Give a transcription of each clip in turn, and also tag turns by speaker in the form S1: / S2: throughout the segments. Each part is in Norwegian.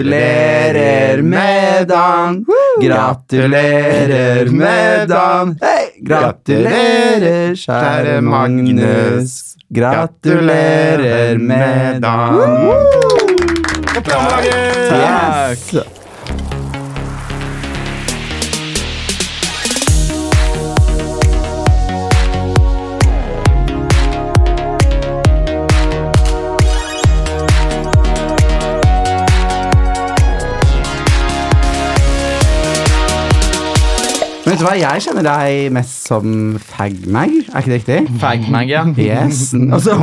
S1: Gratulerer med dagen! Gratulerer med dagen! Hei! Gratulerer, kjære Magnus. Gratulerer med dagen! Yes! Men vet du hva, jeg kjenner deg mest som fagmag, er ikke det riktig?
S2: Fagmag, ja.
S1: Yes. Altså,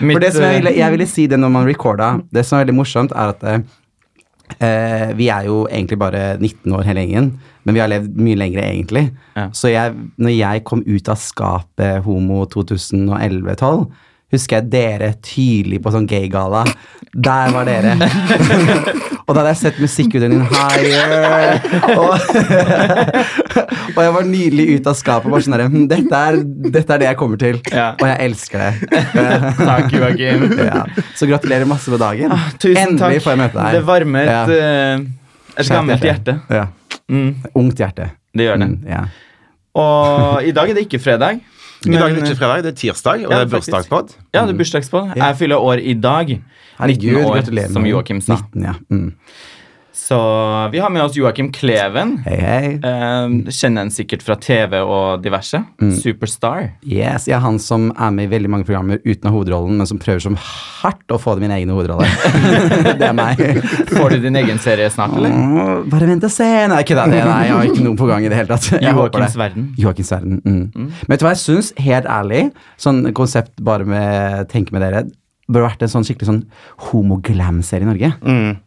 S2: Mitt,
S1: For det som
S2: eh,
S1: jeg ville, jeg ville si det når man recorda, det som er veldig morsomt, er at eh, vi er jo egentlig bare 19 år hele gjengen, men vi har levd mye lengre egentlig.
S2: Ja.
S1: Så jeg, når jeg kom ut av skapet homo 2011-12, husker jeg dere tydelig på sånn gaygala. Der var dere. og da hadde jeg sett musikkvideoen din higher. Og, og jeg var nylig ute av skapet bare sånn der, «Hm, dette, er- dette er det jeg kommer til.
S2: Ja.
S1: Og jeg elsker det.
S2: Takk, Joakim.
S1: Ja. Så gratulerer masse med dagen.
S2: Ah, Tusen
S1: Endelig
S2: takk.
S1: får jeg møte deg.
S2: Det varmer
S1: Ja.
S2: et, eh, et gammelt hjerte.
S1: Ja.
S2: Mm,
S1: Ungt hjerte.
S2: det gjør det.
S1: Mm, ja.
S2: Og i dag er det ikke fredag.
S3: I dag er det
S2: men-
S3: ikke fredag, det er tirsdag, og
S2: Ja,
S3: det er
S2: faktisk.
S3: bursdagspod.
S2: Ja, det er bursdagspod.
S1: eh, Ja.
S2: Jeg fyller år i dag. 19
S1: Herregud,
S2: år,
S1: gratulerer
S2: som
S1: med-
S2: Joakim sa.
S1: 19, ja. Mm.
S2: Så vi har med oss Joakim Kleven.
S1: Hei, hei.
S2: Eh, kjenner han sikkert fra TV og diverse.
S1: Mm.
S2: Superstar.
S1: Yes, jeg er han som er med i veldig mange programmer uten av hovedrollen, men som prøver som hardt å få det i min egen hovedrolle. det er meg.
S2: Får du din egen serie snart, eller?
S1: Åh, Bare vent og se. Nei, ikke det. Nei, jeg har ikke noe på gang i det hele tatt. Jeg håper det.
S2: Joakims verden.
S1: Joakims verden. Mm. Men vet du hva jeg syns, helt ærlig, sånn konsept bare med tenke med dere, burde vært en sånn skikkelig sånn homoglam-serie i Norge.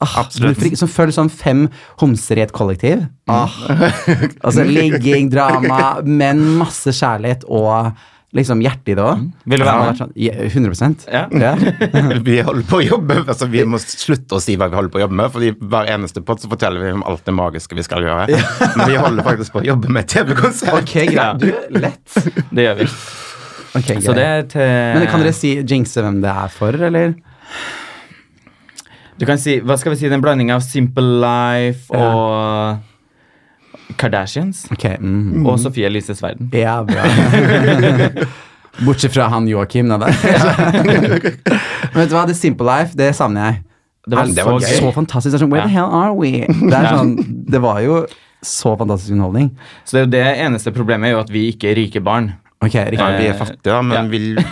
S1: ah,
S3: absolutt.
S1: hvorfor ikke? Som følger sånn fem homser i et kollektiv. Ah. altså ligging, drama, men masse kjærlighet og liksom hjerte i det òg.
S2: Vil du være med?
S1: Sånn, ja, 100
S2: Ja.
S3: Vi holder på å jobbe, altså vi må slutte å si hva vi holder på å jobbe med, fordi hver eneste pod så forteller vi om alt det magiske vi skal gjøre. Men vi holder faktisk på å jobbe med et TV-konsert.
S1: Ok, greit. Du, lett.
S2: Det gjør vi.
S1: Ok, greit.
S2: Så det er til
S1: men kan dere si jinxe hvem det er for, eller?
S2: Du kan si Hva skal vi si? Det er en blanding av Simple Life og Kardashians.
S1: Ok, mm.
S3: Mhm.
S2: Og Sofie Elises verden.
S1: Ja, bra. Bortsett fra han Joakim, da. der. Men vet du hva, The Simple Life, det savner jeg.
S2: Det var
S1: Er-
S2: så
S3: gøy.
S1: så fantastisk. Det er sånn, Where the
S2: Ja.
S1: hell are we? Det, er
S2: Ja.
S1: sånn, det var jo så fantastisk underholdning.
S2: Så det er jo det eneste problemet er jo at vi ikke er rike barn.
S1: Ok, riktig.
S3: Vi
S2: Eh.
S3: er fattige, da, men
S2: Ja.
S3: vi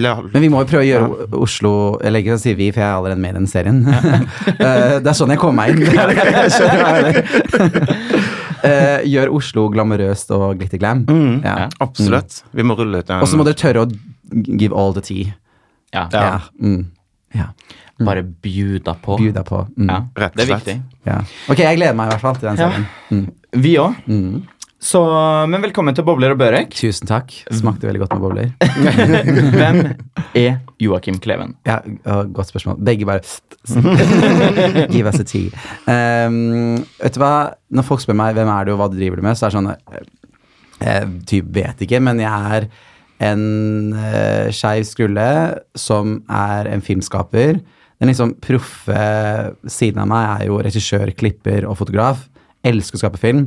S3: la-
S1: Men vi må jo prøve å gjøre O- Oslo Eller ikke å si vi, for jeg er allerede med i den serien. Eh, det er sånn jeg kom meg inn. Det er det jeg skjønner. Eh, gjør Oslo glamorøst og glitterglam.
S2: Mm.
S1: Ja.
S3: Absolutt. Vi må rulle ut en
S1: Mm. Og så må dere tørre å give all the tea.
S2: Ja.
S3: Ja. Mhm.
S1: Ja. Mm. ja.
S2: Bare bjuda på.
S1: Bjuda på. Mm.
S2: Ja,
S3: Rett og
S2: det er
S3: slett.
S2: viktig.
S1: Ja. Ok, jeg gleder meg i hvert fall til den
S2: Ja.
S1: serien.
S2: Vi òg.
S3: Mhm.
S2: Så, men velkommen til Bobler og Børek.
S1: Tusen takk. Smakte veldig godt med bobler.
S2: Hvem er Joakim Kleven?
S1: Ja, og godt spørsmål. Begge bare Give us a tea. Um, vet du hva, når folk spør meg hvem er du og hva du driver med, så er det sånn Jeg Eh, typ vet ikke, men jeg er en uh, skeiv skrulle som er en filmskaper. Den liksom proffe siden av meg er jo regissør, klipper og fotograf. Elsker å skape film.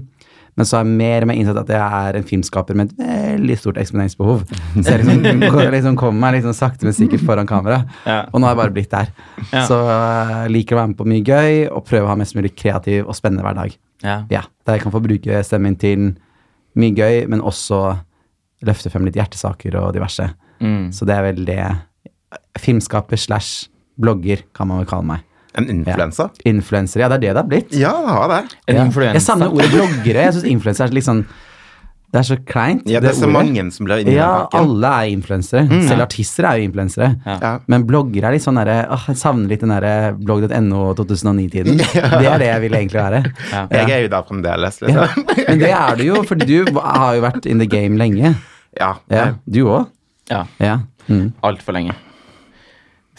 S1: Men så har jeg mer og mer innsett at jeg er en filmskaper med et veldig stort eksponeringsbehov. Så jeg liksom, jeg liksom kommer meg liksom sakte, men sikkert foran kamera.
S2: Ja.
S1: Og nå har jeg bare blitt der.
S2: Ja.
S1: Så jeg liker å være med på mye gøy og prøve å ha mest mulig kreativ og spennende hverdag.
S2: Ja.
S1: Ja, Der jeg kan få bruke stemmen min til mye gøy, men også løfte frem litt hjertesaker og diverse.
S2: Mm.
S1: Så det er vel det Filmskaper slash blogger kan man vel kalle meg.
S3: En influenser?
S1: Influenser. Ja, det er det det har blitt.
S3: Ja, ha det.
S2: En
S1: Ja.
S2: influensa.
S1: Jeg savner ordet bloggere. Jeg syns influenser er litt sånn Det er så kleint.
S3: Ja, det er så
S1: ordet.
S3: mange som blir inni
S1: Ja,
S3: den pakken.
S1: alle er influensere.
S2: Mm.
S1: Selv artister er jo influensere.
S3: Ja.
S1: Men bloggere er litt sånn derre åh, Jeg savner litt den derre blogg.no 2009-tiden. Det er det jeg vil egentlig være.
S2: Ja.
S3: Jeg er jo der fremdeles, liksom.
S1: Men det er du jo, for du har jo vært in the game lenge.
S3: Ja.
S1: Ja, du òg.
S2: Ja,
S1: Ja. Mm.
S2: Altfor lenge.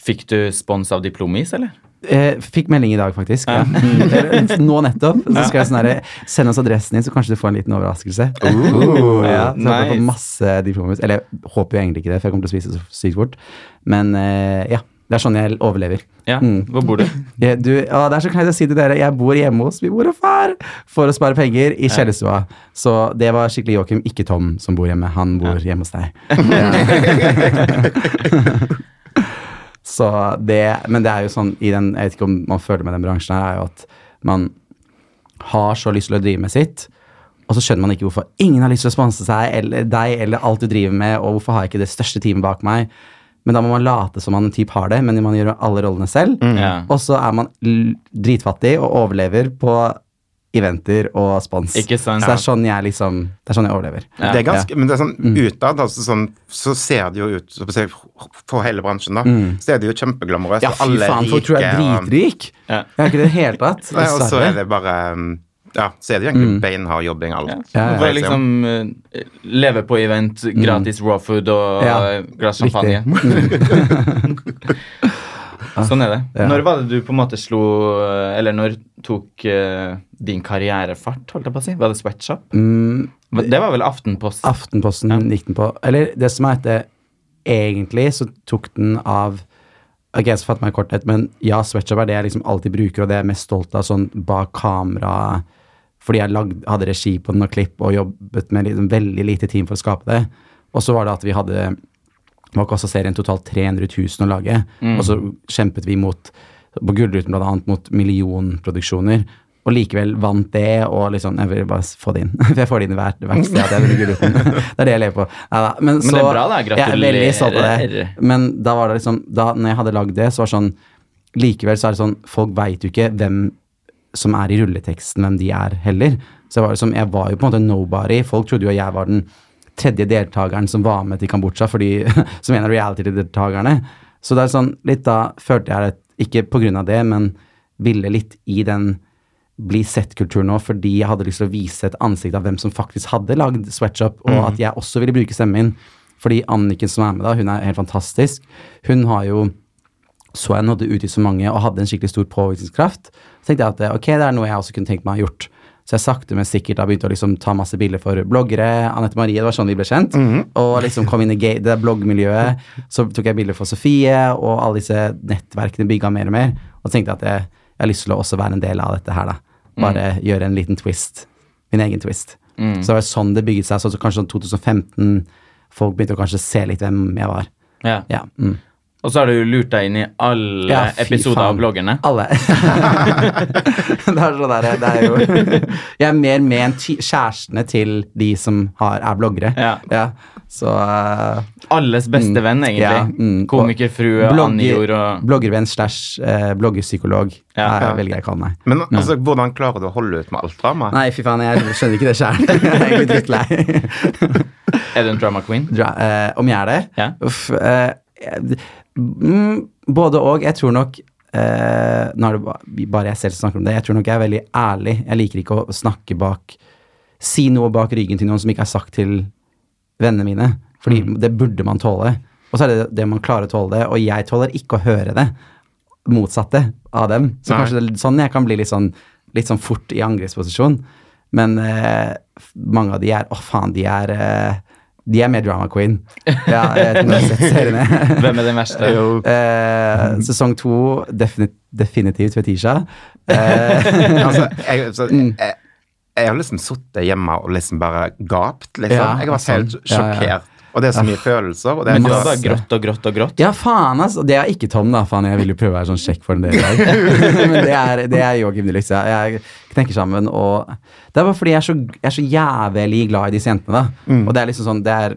S2: Fikk du spons av Diplomis, eller?
S1: Eh, fikk melding i dag, faktisk. Ja. Mm. Nå nettopp. Så skal jeg sånn herre Send oss adressen din, så kanskje du får en liten overraskelse.
S3: Uh, Ooh.
S1: ja, så jeg får
S2: nice.
S1: masse diplomus. Eller jeg håper jo egentlig ikke det, for jeg kommer til å spise det så sykt fort. Men eh, ja. Det er sånn jeg overlever.
S2: Ja,
S3: Mhm.
S1: Mm.
S2: Hvor bor du?
S1: Jeg, du, å, det er så kleint å si til dere, jeg bor hjemme hos min mor og far for å spare penger i kjellerstua. Så det var skikkelig Joakim, ikke Tom, som bor hjemme. Han bor hjemme hos deg. så det, men det er jo sånn i den, Jeg vet ikke om man føler med den bransjen her, er jo at man har så lyst til å drive med sitt, og så skjønner man ikke hvorfor ingen har lyst til å sponse seg eller deg eller alt du driver med, og hvorfor har jeg ikke det største teamet bak meg? Men da må man late som man typ har det, men man gjør alle rollene selv.
S2: Ja.
S1: Og så er man l- dritfattig og overlever på eventer og spons.
S2: Ikke sant?
S1: Så det er sånn jeg liksom Det er sånn jeg overlever.
S2: Ja.
S3: Det er ganske, Men det er sånn
S1: Mm.
S3: utad, altså sånn, så ser det jo ut så å si, For hele bransjen, da, så er det jo
S1: Mm.
S3: kjempeglamorøst.
S1: Ja,
S3: og
S1: fy
S3: alle er
S1: faen, folk tror jeg er
S3: rike, og-
S1: dritrik!
S2: Ja.
S1: Jeg er ikke det i det altså. hele tatt.
S3: Nei, og så er
S1: Dessverre.
S3: det bare um, Ja, så er det jo egentlig beinhard jobbing, alt.
S2: Ja.
S1: Ja, ja.
S2: Bare liksom eh, leve på event, gratis raw food og
S1: Ja,
S2: eh, glass champagne. sånn er det.
S1: Ja.
S2: Når var det du på en måte slo eh, Eller når tok eh, din karrierefart, holdt jeg på å si? Var det sweatshop?
S1: Mm,
S2: Det var vel Aftenpost?
S1: Aftenposten gikk den på. Eller det som er at det egentlig så tok den av Ok, så fatter meg i korthet, men ja, sweatshop er det jeg liksom alltid bruker, og det jeg er mest stolt av sånn bak kamera Fordi jeg lagde, hadde regi på den og klipp og jobbet med liksom veldig lite team for å skape det. Og så var det at vi hadde var kosta serien totalt 300 000 å lage.
S2: Mm.
S1: Og så kjempet vi mot på Gullruten bl.a. mot millionproduksjoner. Og likevel vant det, og liksom Jeg vil bare få det inn. For jeg får det inn i hvert, hvert sted. Jeg vinner Gullruten. det er det jeg lever på. Neida, men,
S2: Men
S1: så,
S2: det er bra, da.
S1: Jeg er veldig stolt av det.
S2: Gratulerer.
S1: Men da var det liksom da når jeg hadde lagd det, så var det sånn Likevel så er det sånn Folk veit jo ikke hvem som er i rulleteksten, hvem de er, heller. Så jeg var, liksom, jeg var jo på en måte nobody. Folk trodde jo jeg var den tredje deltakeren som var med til Kambodsja, fordi, som en av reality-deltakerne. Så det er sånn, litt da følte jeg at, ikke på grunn av det, men ville litt i den bli sett-kultur nå, fordi jeg hadde lyst til å vise et ansikt av hvem som faktisk hadde lagd sweatshop, og at jeg også ville bruke stemmen min. Fordi Anniken som er med da, hun er helt fantastisk. Hun har jo så jeg nådde ut til så mange og hadde en skikkelig stor påvirkningskraft, så tenkte jeg at eh, ok, det er noe jeg også kunne tenkt meg å ha gjort. Så jeg sakte, men sikkert da begynte å liksom ta masse bilder for bloggere. Anette Marie, det var sånn vi ble kjent. Og liksom kom inn i ga- det der bloggmiljøet. Så tok jeg bilder for Sofie, og alle disse nettverkene bygga mer og mer. Og så tenkte jeg at jeg, jeg har lyst til å også være en del av dette her, da. Bare gjøre en liten twist. Min egen twist. Så det var sånn det bygget seg. Så kanskje sånn 2015 Folk begynte å kanskje se litt hvem jeg var.
S2: Ja.
S1: Ja. Mm.
S2: Og så har du lurt deg inn i alle
S1: Ja, fy
S2: episoder
S1: faen.
S2: av bloggerne.
S1: Alle. det er sånn der, det er jo Jeg er mer med enn ti- kjærestene til de som har, er bloggere.
S2: Ja.
S1: så eh,
S2: Alles beste venn, egentlig.
S1: ja, mm. Og
S2: Komikerfrue, Annejord og
S1: Bloggervenn slash eh, bloggerpsykolog
S2: Ja,
S1: er-
S3: ja.
S1: velger jeg å kalle meg.
S3: Men altså, hvordan klarer du å holde ut med alt dramaet?
S1: Nei, fy faen, jeg skjønner ikke det sjæl. Jeg er egentlig drittlei.
S2: Er du en drama queen?
S1: Dra, eh, om jeg er det?
S2: Ja.
S1: Uff, eh, jeg- mm, både og. Jeg tror nok eh, Nå er det ba- bare jeg selv som snakker om det. Jeg tror nok jeg er veldig ærlig. Jeg liker ikke å snakke bak Si noe bak ryggen til noen som ikke er sagt til vennene mine. Fordi det burde man tåle. Og så er det det man klarer å tåle det, og jeg tåler ikke å høre det motsatte av dem. Så
S3: Nei.
S1: kanskje det er litt sånn jeg kan bli litt sånn, litt sånn fort i angrepsposisjon. Men eh, f- mange av de er Å, faen, de er eh, De er mer drama queen. Ja, jeg vet ikke om du har sett seriene.
S2: Hvem er den verste?
S1: Eh, sesong to, definit, definitivt Fetisha. Eh,
S3: altså, jeg, så,
S1: Mm.
S3: jeg, jeg har liksom sittet hjemme og liksom bare gapt, liksom.
S1: Ja,
S3: jeg har vært helt
S1: sånn. Ja, ja,
S3: sjokkert.
S1: ja.
S3: Og det er så mye følelser. Og det er
S2: Men du har
S3: bare-
S2: Altså, bare grått og grått og grått.
S1: ja, faen, altså. Det er ikke Tom, da. Faen, jeg ville jo prøve å være sånn sjekk for en del i dag. Men det er, det er Joakim Deluxe. Jeg jeg knekker sammen og Det er bare fordi jeg er så, jeg er så jævlig glad i disse jentene, da. Og det er liksom sånn Det er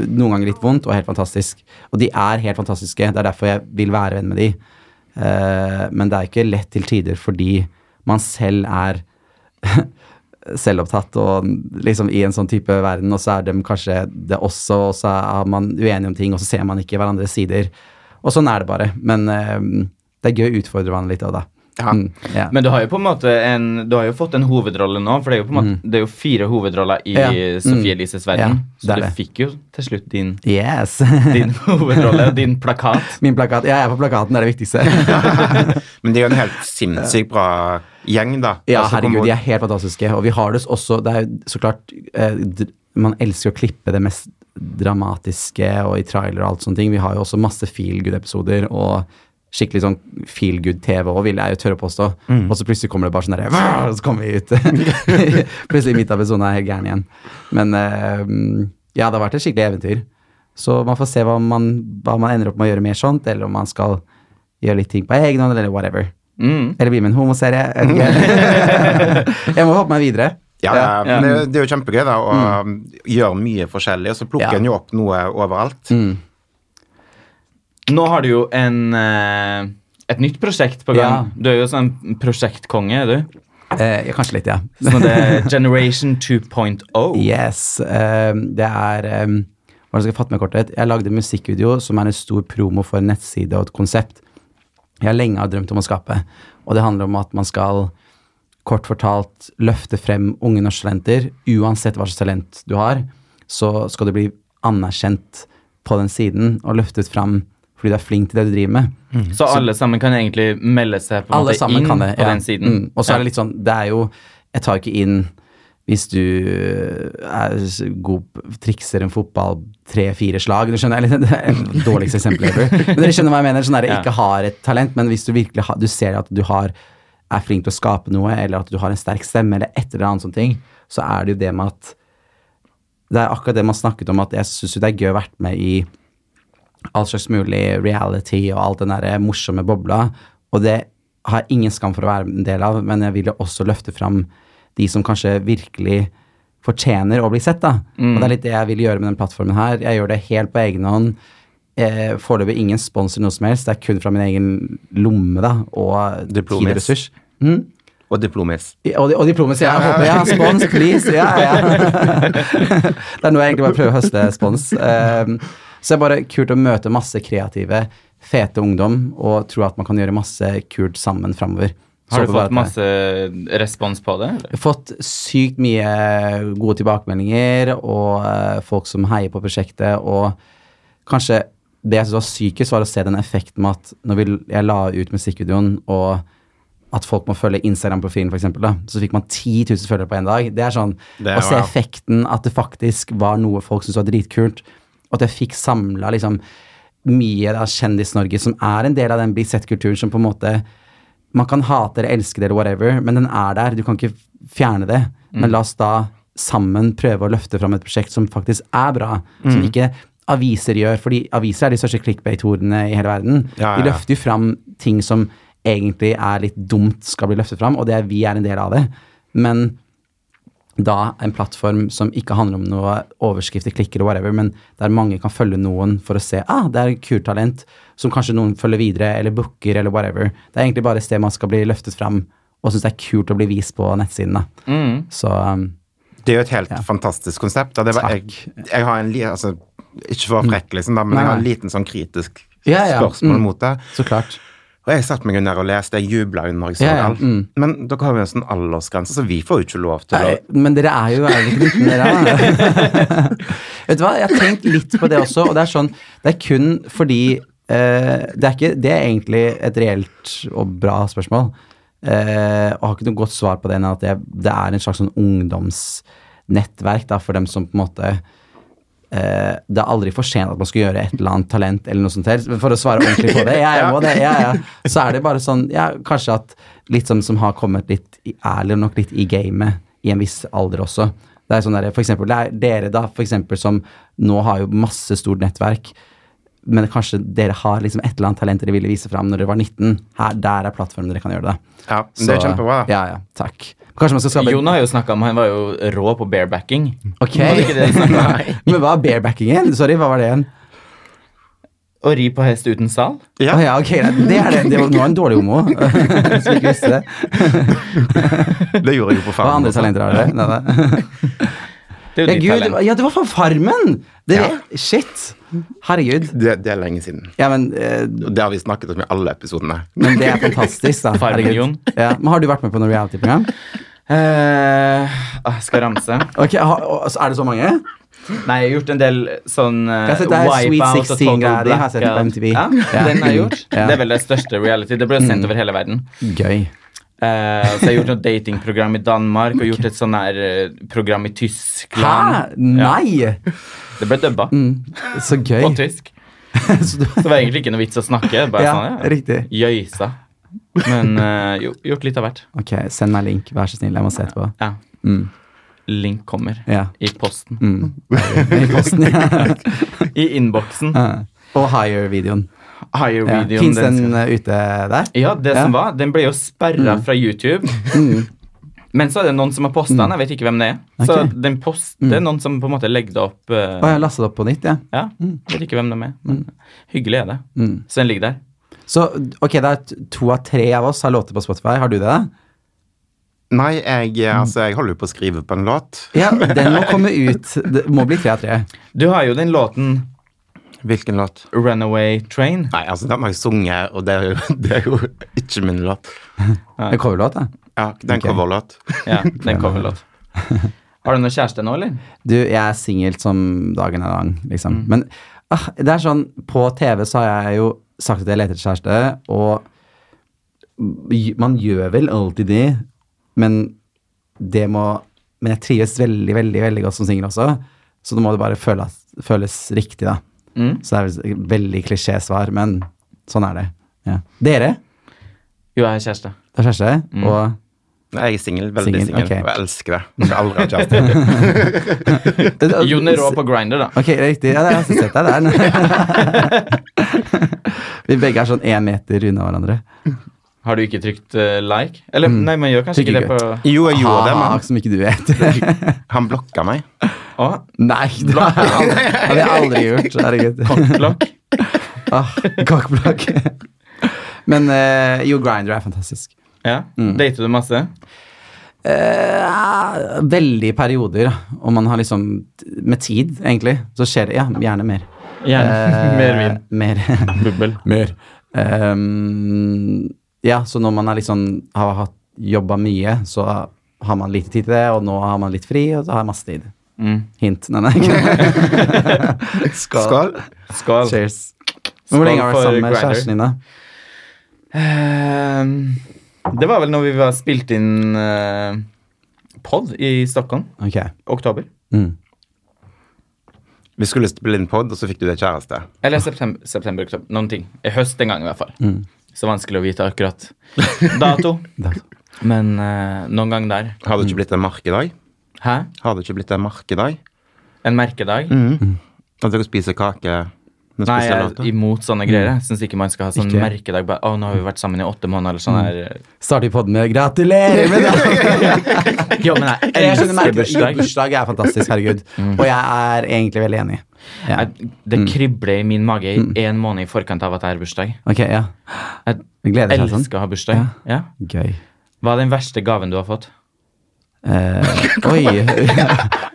S1: noen ganger litt vondt og helt fantastisk. Og de er helt fantastiske. Det er derfor jeg vil være venn med de. Eh, men det er ikke lett til tider fordi man selv er selvopptatt og liksom i en sånn type verden, og så er de kanskje det også, og så er man uenig om ting, og så ser man ikke hverandres sider. Og sånn er det bare. Men eh, det er gøy å utfordre hverandre litt òg, da.
S3: Ja.
S1: Mm, ja.
S2: Men du har jo på en måte en, du har jo fått en hovedrolle nå, for det er jo, på en måte, det er jo fire hovedroller i
S1: Mm. Ja. Mm.
S2: Sofie Elises
S1: Ja,
S2: verden.
S1: det
S2: Så
S1: er
S2: du
S1: det.
S2: fikk jo til slutt din,
S1: yes!
S2: din hovedrolle, din plakat.
S1: Min plakat. Ja, jeg er på plakaten, det er det viktigste.
S3: Men det er jo en helt sinnssykt bra gjeng, da. Altså,
S1: Ja,
S3: Og så kommer-
S1: herregud, de er helt fantastiske. Og vi har det også Det er jo så klart eh, d- Man elsker å klippe det mest dramatiske og i trailer og alt sånne ting. Vi har jo også masse feel good-episoder og skikkelig sånn feel good-TV òg, vil jeg jo tørre å påstå. Og så plutselig kommer det bare sånn derre «Vah!» Og så kommer vi ut. plutselig midt av episoden er jeg helt gæren igjen. Men eh, ja, det har vært et skikkelig eventyr. Så man får se hva man, hva man ender opp med å gjøre mer sånt, eller om man skal gjøre litt ting på egen hånd, eller whatever.
S2: Mm.
S1: Eller bli med i en homoserie. jeg vet ikke. jeg må hoppe meg videre.
S3: Ja,
S2: Ja, ja.
S3: Men det,
S1: Mm.
S3: det er jo kjempegøy da, å gjøre mye forskjellig, og så plukker
S1: Ja.
S3: en jo opp noe overalt.
S1: Mm.
S2: Nå har du jo en, eh, et nytt prosjekt på gang.
S1: Ja.
S2: Du er jo sånn prosjektkonge, er du.
S1: Eh, ja, kanskje litt, ja.
S2: Sånn det er Generation oh. 2.0.
S1: Yes. ehm, det er ehm, Hvordan skal jeg fatte meg i korthet? Jeg lagde en musikkvideo som er en stor promo for en nettside og et konsept jeg lenge har drømt om å skape. Og det handler om at man skal kort fortalt løfte frem unge norske talenter. Uansett hva slags talent du har, så skal du bli anerkjent på den siden og løftet frem fordi du er flink til det du driver med.
S3: Mm.
S2: Så alle sammen kan egentlig melde seg på, en
S1: Alle
S2: måte
S1: sammen
S2: inn
S1: kan det.
S2: på
S1: ja.
S2: den siden.
S1: Mm. Og så er det litt sånn, det er jo Jeg tar ikke inn hvis du eh, er s- god p- trikser en fotball tre-fire slag. Du skjønner, eller, det er det dårligste eksempelet ever. Men dere skjønner hva jeg mener. Sånn der,
S2: Ja.
S1: Ikke har et talent, men hvis du virkelig har, du ser at du har, er flink til å skape noe, eller at du har en sterk stemme, eller et eller annet sånne ting, så er det jo det med at det er akkurat det man snakket om, at jeg syns det er gøy å vært med i all slags mulig reality og alt den der morsomme bobla. Og det har jeg ingen skam for å være en del av, men jeg vil jo også løfte fram de som kanskje virkelig fortjener å bli sett, da. Og det er litt det jeg vil gjøre med den plattformen her. Jeg gjør det helt på egen hånd. Eh, Foreløpig ingen sponsor noe som helst. Det er kun fra min egen lomme, da, og Mm.
S3: Diplomis.
S1: tid og ressurs.
S3: Og diplomis.
S1: Ja, Og, og diplomet sier jeg håper jeg har spons, please. Ja, ja. Det er nå jeg egentlig bare prøver å høste spons. Um, så det er bare kult å møte masse kreative, fete ungdom og tro at man kan gjøre masse kult sammen framover.
S2: Har du fått masse respons på det? Eller?
S1: Fått sykt mye gode tilbakemeldinger og eh, folk som heier på prosjektet. Og kanskje det jeg syntes var sykest, var å se den effekten med at når vi, jeg la ut musikkvideoen, og at folk må følge Instagram-profilen, for eksempel, da, så fikk man 10 000 følgere på én dag. Det er sånn
S3: Det er
S1: Å se
S3: wow.
S1: effekten, at det faktisk var noe folk syntes var dritkult, og at jeg fikk samla liksom mye av Kjendis-Norge som er en del av den bli sett-kulturen som på en måte man kan hate eller elske det eller whatever, men den er der. Du kan ikke fjerne det. Men
S3: Mm.
S1: la oss da sammen prøve å løfte fram et prosjekt som faktisk er bra.
S3: Mm.
S1: Som ikke aviser gjør, fordi aviser er de største clickbait-ordene i hele verden.
S3: Ja, ja,
S1: De
S3: ja.
S1: løfter jo fram ting som egentlig er litt dumt skal bli løftet fram, og det er vi er en del av det. Men da en plattform som ikke handler om noe overskrifter, klikker og whatever, men der mange kan følge noen for å se ah, det er et kult talent, som kanskje noen følger videre eller booker eller whatever. Det er egentlig bare et sted man skal bli løftet fram og synes det er kult å bli vist på nettsiden. da.
S2: Mm.
S1: Så um,
S3: Det er jo et helt fantastisk konsept. og Det var, jeg, jeg har en li, altså, ikke for å være frekk, liksom, da, men
S1: Mm. Nei,
S3: jeg har en
S1: nei.
S3: liten sånn kritisk
S1: Ja, ja.
S3: spørsmål
S1: Mm.
S3: mot det.
S1: så klart.
S3: Og jeg satte meg jo ned og leste, jeg jubla jo når jeg så
S1: Ja, ja,
S3: alt.
S1: mm.
S3: Men dere har jo en sånn aldersgrense, så vi får jo ikke lov til å
S1: Nei, Men dere er jo er ikke 19, dere da. Vet du hva, jeg har tenkt litt på det også, og det er sånn Det er kun fordi eh, det, er ikke, det er egentlig et reelt og bra spørsmål. Eh, og har ikke noe godt svar på det enn at det, det er en slags sånn ungdomsnettverk da, for dem som på en måte eh, Det er aldri for sent at man skal gjøre et eller annet talent eller noe sånt helst. Men for å svare ordentlig på det, ja, jeg må det, ja, ja. Så er det bare sånn, ja, kanskje at litt som, som har kommet litt, i- er det nok litt i gamet i en viss alder også. Det er sånn der, for eksempel, det er dere da, for eksempel, som nå har jo masse stort nettverk, men kanskje dere har liksom et eller annet talent dere ville vise fram når dere var 19. Her, der er plattformen dere kan gjøre det.
S3: Ja, men det er
S1: Så-
S3: kjempebra, da.
S1: Ja, ja, takk. Kanskje man skal skape...
S2: Jon har jo snakka om han var jo rå på barebacking.
S1: Ok.
S2: Var det ikke det han snakket om?
S1: Men hva er barebackingen? Sorry, hva var det igjen?
S2: Å ri på hest uten sal?
S1: Ja.
S3: Ja.
S1: ja, ok, nei, det er det. Det var, nå er en dårlig homo. Som ikke visste det.
S3: Det gjorde jeg jo på
S1: Hva
S3: farmen.
S1: andre
S3: også.
S1: talenter har dere? Nei, nei.
S2: Det er
S1: Ja,
S2: jo
S1: Gud,
S2: ditt
S1: det var-
S2: talent.
S1: ja, det var fra Farmen! Det,
S3: Ja.
S1: Shit. Herregud.
S3: Det, det er lenge siden.
S1: Ja, men, eh,
S3: Og det har vi snakket om i alle episodene.
S1: men det er fantastisk, da.
S2: Farmen,
S1: Herregud.
S2: Jon.
S1: Ja. Men har du vært med på noe reality-program?
S2: Eh, ah, skal jeg ramse?
S1: Ok, har- og- så Er det så mange?
S2: Nei, jeg har gjort en del sånn uh,
S1: Jeg har sett det her Sweet 16-greier, det har jeg sett på MTV.
S2: Ja,
S1: Ja.
S2: Den har jeg gjort.
S1: Ja.
S2: Det er vel det største reality. Det ble jo sendt over hele verden.
S1: Gøy.
S2: Eh, Eh, så jeg har gjort noe datingprogram i Danmark og gjort et sånn her eh, program i Tyskland.
S1: Hæ? Mm. Nei!
S2: Det ble dubba
S1: Så gøy.
S2: på tysk.
S1: Så du-
S2: Så det var egentlig ikke noe vits å snakke. Bare
S1: Ja,
S2: sånn, ja.
S1: riktig.
S2: Jøysa. Men eh, jo, gjort litt av hvert.
S1: Ok, send meg link, vær så snill. Jeg må se etterpå.
S2: Ja.
S1: Mm.
S2: Link kommer
S1: Ja.
S2: i posten.
S1: Mm. I posten, ja.
S2: I innboksen.
S1: Ja. Og Higher-videoen.
S2: Higher
S1: Ja.
S2: videoen.
S1: Fins
S2: den
S1: den
S2: skal-
S1: uh, ute der?
S2: Ja, det
S1: Ja. Mm.
S2: som var, den ble jo sperra fra YouTube. Men så er det noen som har posta den. Jeg vet ikke hvem det er. Så
S1: Mm. Ok. Mm.
S2: den post, det er noen som på en måte legger det opp. eh,
S1: Å, jeg har lastet det opp på nytt, ja.
S2: ja, Vet ikke hvem de er, men hyggelig er det.
S1: Mm.
S2: Så den ligger der.
S1: Så ok, det er t- to av tre av oss har låter på Spotify. Har du det? da?
S3: Nei, jeg, altså, jeg holder jo på å skrive på en låt.
S1: Ja, den må komme ut. Det må bli tre av tre.
S2: Du har jo den låten
S3: Hvilken låt?
S2: 'Runaway Train'.
S3: Nei, altså, den har jeg sunget, og det er jo, det er jo ikke min låt.
S1: En coverlåt, da.
S3: Ja, det er
S1: Ok.
S3: en coverlåt.
S2: Ja, den coverlåt. Har du noen kjæreste nå, eller?
S1: Du, jeg er singel som dagen er lang, liksom. Men ah, det er sånn, på TV så har jeg jo sagt at jeg leter etter kjæreste, og gj- man gjør vel alltid det, men det må Men jeg trives veldig, veldig veldig godt som singel også, så nå må det bare føles, føles riktig, da.
S2: Mm.
S1: Så det er vel veldig klisjésvar, men sånn er det. Ja. Dere
S2: Jo, jeg har kjæreste.
S1: har kjæreste, og
S3: Nei, jeg er singel, veldig
S1: Singel,
S3: singel,
S1: ok.
S3: og jeg elsker det. Jeg skal aldri ha kjæreste.
S1: Altså,
S2: Jon er rå på grinder, da.
S1: Ok, riktig. Ja, det er jeg som setter deg der. Vi begge er sånn én meter unna hverandre.
S2: Har du ikke trykt eh, like? Eller nei, man gjør kanskje
S1: Mm. Trykker
S2: ikke det på
S3: Jo, jeg gjorde det,
S1: Ah,
S3: men
S1: som ikke du vet.
S3: han blokka meg.
S2: Å,
S1: Nei, det har jeg aldri- det hadde jeg aldri gjort. Herregud.
S2: klokk.
S1: Ah, Kakeblokk. Men eh, jo, Grinder er fantastisk.
S2: Ja.
S1: Mm.
S2: Dater du masse?
S1: Eh, veldig i perioder, da. og man har liksom Med tid, egentlig, så skjer det ja, gjerne mer.
S2: Gjerne.
S1: Eh,
S2: Mer vin.
S1: Mer.
S2: Bubbel.
S1: Mer. Ehm, ja, så når man er liksom, har hatt jobba mye, så har man lite tid til det, og nå har man litt fri, og så har jeg masse tid.
S2: Mm.
S1: Hint. Nei, nei. ikke. Skål.
S3: Skål.
S2: Skål.
S1: Cheers. Men Hvor lenge har du vært
S2: for
S1: sammen med
S2: Grindr.
S1: kjæresten din, da?
S2: Ehm, det var vel når vi var spilt inn uh, pod i Stockholm.
S1: Ok.
S2: Oktober.
S1: Mm.
S3: Vi skulle spille inn pod, og så fikk du deg kjæreste.
S2: Eller september, september oktober. Noen ting. I høst en gang, i hvert fall.
S1: Mm.
S2: Så vanskelig å vite akkurat dato.
S1: Da.
S2: Men eh, noen gang der.
S3: Har det ikke blitt en markedag?
S2: Hæ?
S3: Har det ikke blitt en markedag?
S2: En merkedag?
S1: Mm.
S3: At dere spiser kake med
S2: Nei, jeg er
S3: spesialåter?
S2: imot sånne greier. Jeg syns ikke man skal ha sånn
S1: Mm. Ikke? Mm.
S2: merkedag. Bare, å, nå har vi vært sammen i åtte måneder, eller sånn her.
S1: Starter vi podden med 'gratulerer med dagen'?
S2: Jo, men
S1: Jeg
S2: jeg
S1: skjønner merkelig.
S2: elsker
S1: Jo,
S2: bursdag. Mm.
S1: Bursdag er fantastisk, herregud. Og jeg er egentlig veldig enig. Ja. Mm.
S2: Jeg, det kribler i min mage i én måned i forkant av at jeg har bursdag.
S1: Ok, ja.
S2: Jeg
S1: Vi gleder seg sånn.
S2: elsker å ha bursdag. Ja.
S1: Gøy.
S2: Hva er den verste gaven du har fått?
S1: Eh, oi.